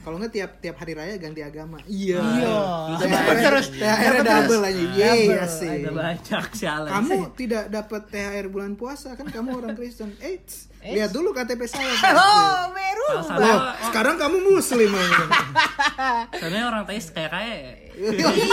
Kalau nggak tiap tiap hari raya ganti agama. Iya. Iya. THR Terus THR Iya. double aja. Yeay Double, asik. Ada banyak sialan. Kamu tidak dapat THR bulan puasa kan kamu orang Kristen. Eits. Eits. Lihat dulu KTP saya. Oh, Meru. Kalau sana, Wah, sekarang kamu muslim aja. sana orang ateis kayak kayak. Iya, harus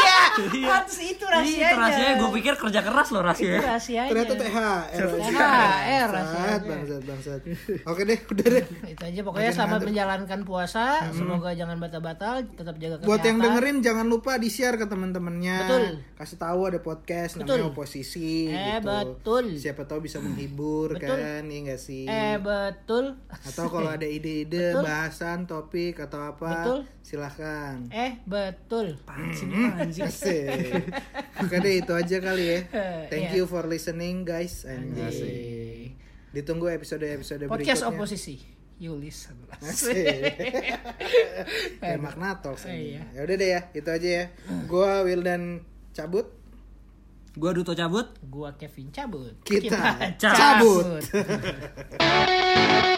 itu Iya, rasanya rahasianya. gue pikir kerja keras loh Itu rasanya. rahasianya. Ternyata THR. THR Bangsat, rasanya. bangsat, bangsat. Oke deh, udah deh. itu aja pokoknya selamat menjalankan puasa semoga jangan batal-batal tetap jaga kesehatan Buat yang dengerin jangan lupa di share ke teman-temannya. Betul. Kasih tahu ada podcast namanya oposisi Eh, gitu. betul. Siapa tahu bisa menghibur Betul. kan, iya nggak sih? eh betul Atau kalau ada ide-ide Betul. bahasan, topik atau apa, Betul. silahkan. eh betul Eh. Asik. Oke deh itu aja kali ya. Iya. Thank you for listening guys. Anjing. Ditunggu episode-episode podcast berikutnya. oposisi Yulis Asik. Kayak Magnato Iya. Hmm. Ya udah deh ya, itu aja ya. Gua Wildan cabut. Gue duto cabut. gua Kevin cabut Kita cabut. cabut.